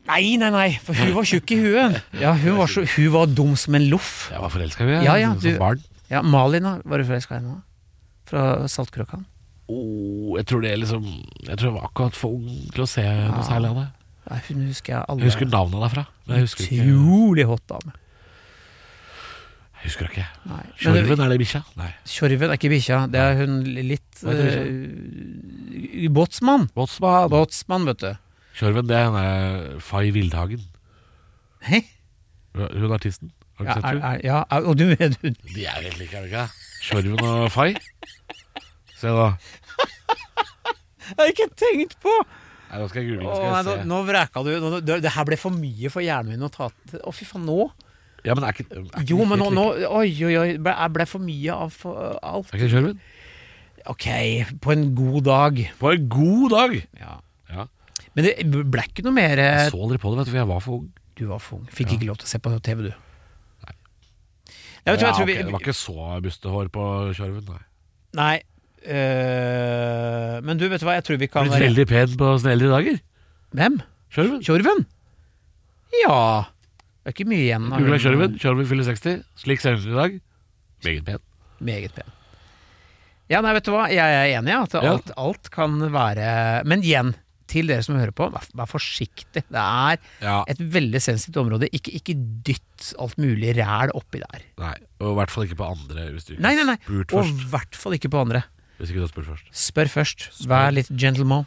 B: Nei, nei, nei, for hun var tjukk i huet. Ja, hun var, så, hun var dum som en loff.
C: Jeg var forelska i henne
B: Ja, ja,
C: som
B: du-
C: barn.
B: Ja, Malin, da, var du forelska i henne? da? Fra Saltkråkan?
C: Åh, jeg tror det er liksom Jeg tror jeg var akkurat for ung til å se noe særlig av det.
B: Nei, hun husker jeg alle.
C: Jeg husker navnet derfra, men jeg husker ikke.
B: Utrolig hot dame.
C: Jeg husker ikke.
B: Nei. Men det-
C: Sjorven, er det bikkja? Nei.
B: Tjorven er ikke bikkja, det er hun litt
C: Hva heter
B: eh, Båtsmann.
C: Båtsmann.
B: Båtsmann, vet du.
C: Sjorven, det er henne Fay Vildhagen.
B: Hæ?
C: Hun er artisten. Har du
B: Ja,
C: sett
B: er,
C: henne?
B: er, ja, er, og du vet hun
C: De er helt like, er de ikke? Sjorven og Fay. Se da.
B: Jeg har ikke tenkt på!
C: Nei, Nei, Nå skal jeg google.
B: Å,
C: Nå skal
B: nei,
C: jeg
B: nå,
C: se.
B: nå vreka du nå, det, det her ble for mye for hjernen min å ta til. Å, fy faen, nå?
C: Ja, men er ikke, er ikke
B: Jo, men nå,
C: helt
B: nå
C: like.
B: Oi, oi, oi. Ble, jeg ble for mye av for, alt.
C: Er ikke det Kjørven?
B: Ok, på en god dag.
C: På en god dag!
B: Ja.
C: Ja. Altså-
B: Men det ble ikke noe mer eh,
C: Jeg så aldri på det, vet du, for jeg var for ung.
B: Du var for ung. Fikk ikke lov til å se på TV, du. Nei,
C: Ja,
B: vet du hva, jeg tror
C: ok, Det var
B: vi,
C: ikke så bustehår på Kjørven,
B: nei
C: nei.
B: øh, men du, vet du hva, jeg tror vi kan
C: Blitt veldig pen på sine eldre dager.
B: Hvem?
C: Kjørven.
B: Tjorven? Ja Det er ikke mye igjen av
C: Googla
B: hun.
C: Kjørven. Kjørven fyller 60. Slik ser hun ut i dag. Meget pen.
B: Meget pen. Ja, nei, vet du hva, jeg er enig i at
C: Ja.
B: alt, alt kan være Men igjen, til dere som hører på, vær, vær forsiktig. Det er
C: Ja.
B: et veldig sensitivt område. Ikke, ikke dytt alt mulig ræl oppi der.
C: Nei, og i hvert fall ikke på andre hvis du ikke
B: Nei, nei, nei.
C: har spurt
B: Og
C: først.
B: i hvert fall ikke på andre.
C: Hvis ikke du har spurt først.
B: Spør først. Vær litt gentleman.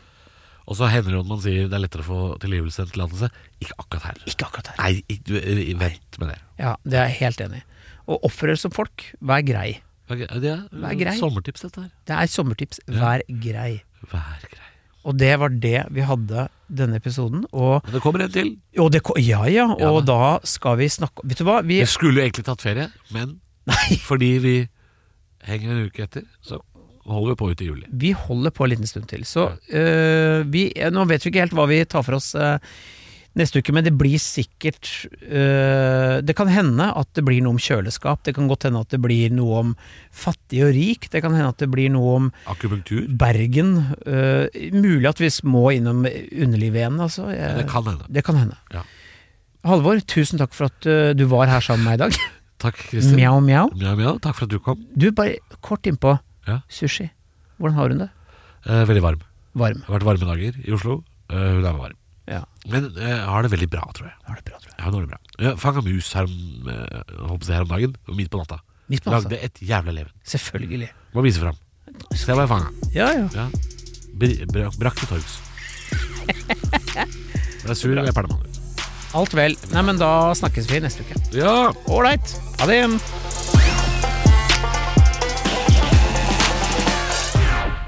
C: Og så hender det at man sier det er lettere å få tilgivelse enn tillatelse. Ikke akkurat her.
B: Ikke akkurat her.
C: Nei, ikke- du, eh, vent med det.
B: Ja, det er jeg helt enig i. Og oppfør dere som folk. Vær grei.
C: Ok, Det er,
B: Vær grei.
C: sommertips, dette her.
B: Det er sommertips. Vær grei.
C: Vær grei.
B: Og det var det vi hadde denne episoden. Og,
C: Men det kommer en til.
B: og det, ko- ja, ja,
C: Ja
B: og da skal vi snakke Vet du hva? Vi,
C: Vi skulle jo egentlig tatt ferie, men fordi vi henger en uke etter, så holder vi på ut i juli.
B: vi holder på en liten stund til. Så øh, vi, eh, nå vet vi ikke helt hva vi tar for oss eh, neste uke, men det blir sikkert øh, Det kan hende at det blir noe om kjøleskap. Det kan godt hende at det blir noe om fattig og rik. Det kan hende at det blir noe om
C: Akupunktur?
B: Bergen. øh, mulig at vi må innom underlivet igjen, altså. Jeg,
C: Det kan hende.
B: Det kan hende.
C: Ja.
B: Halvor, tusen takk for at ø, du var her sammen med meg i dag.
C: Takk, Kristin.
B: Mjau, mjau.
C: Mjau, mjau. Takk for at du kom.
B: Du, bare kort innpå.
C: Ja.
B: Sushi. Hvordan har hun det?
C: Eh, veldig varm.
B: Varm.
C: Det har vært varme dager i Oslo. Eh, hun er varm.
B: Ja.
C: Men eh, har det veldig bra, tror jeg.
B: Har det bra, tror jeg.
C: Ja, nå er det bra. Jeg fanga mus her om, eh, holdt på å si her om dagen, midt på natta.
B: Midt på natta.
C: Lagde et jævla leven.
B: Selvfølgelig.
C: Må vise fram. Se hva jeg fanga.
B: Ja, ja.
C: Ja. Br br brakk til torgs. Jeg er sur, og jeg er perlemann.
B: Alt vel. Nei, men da snakkes vi neste uke.
C: Ja!
B: Ålreit. Ha det.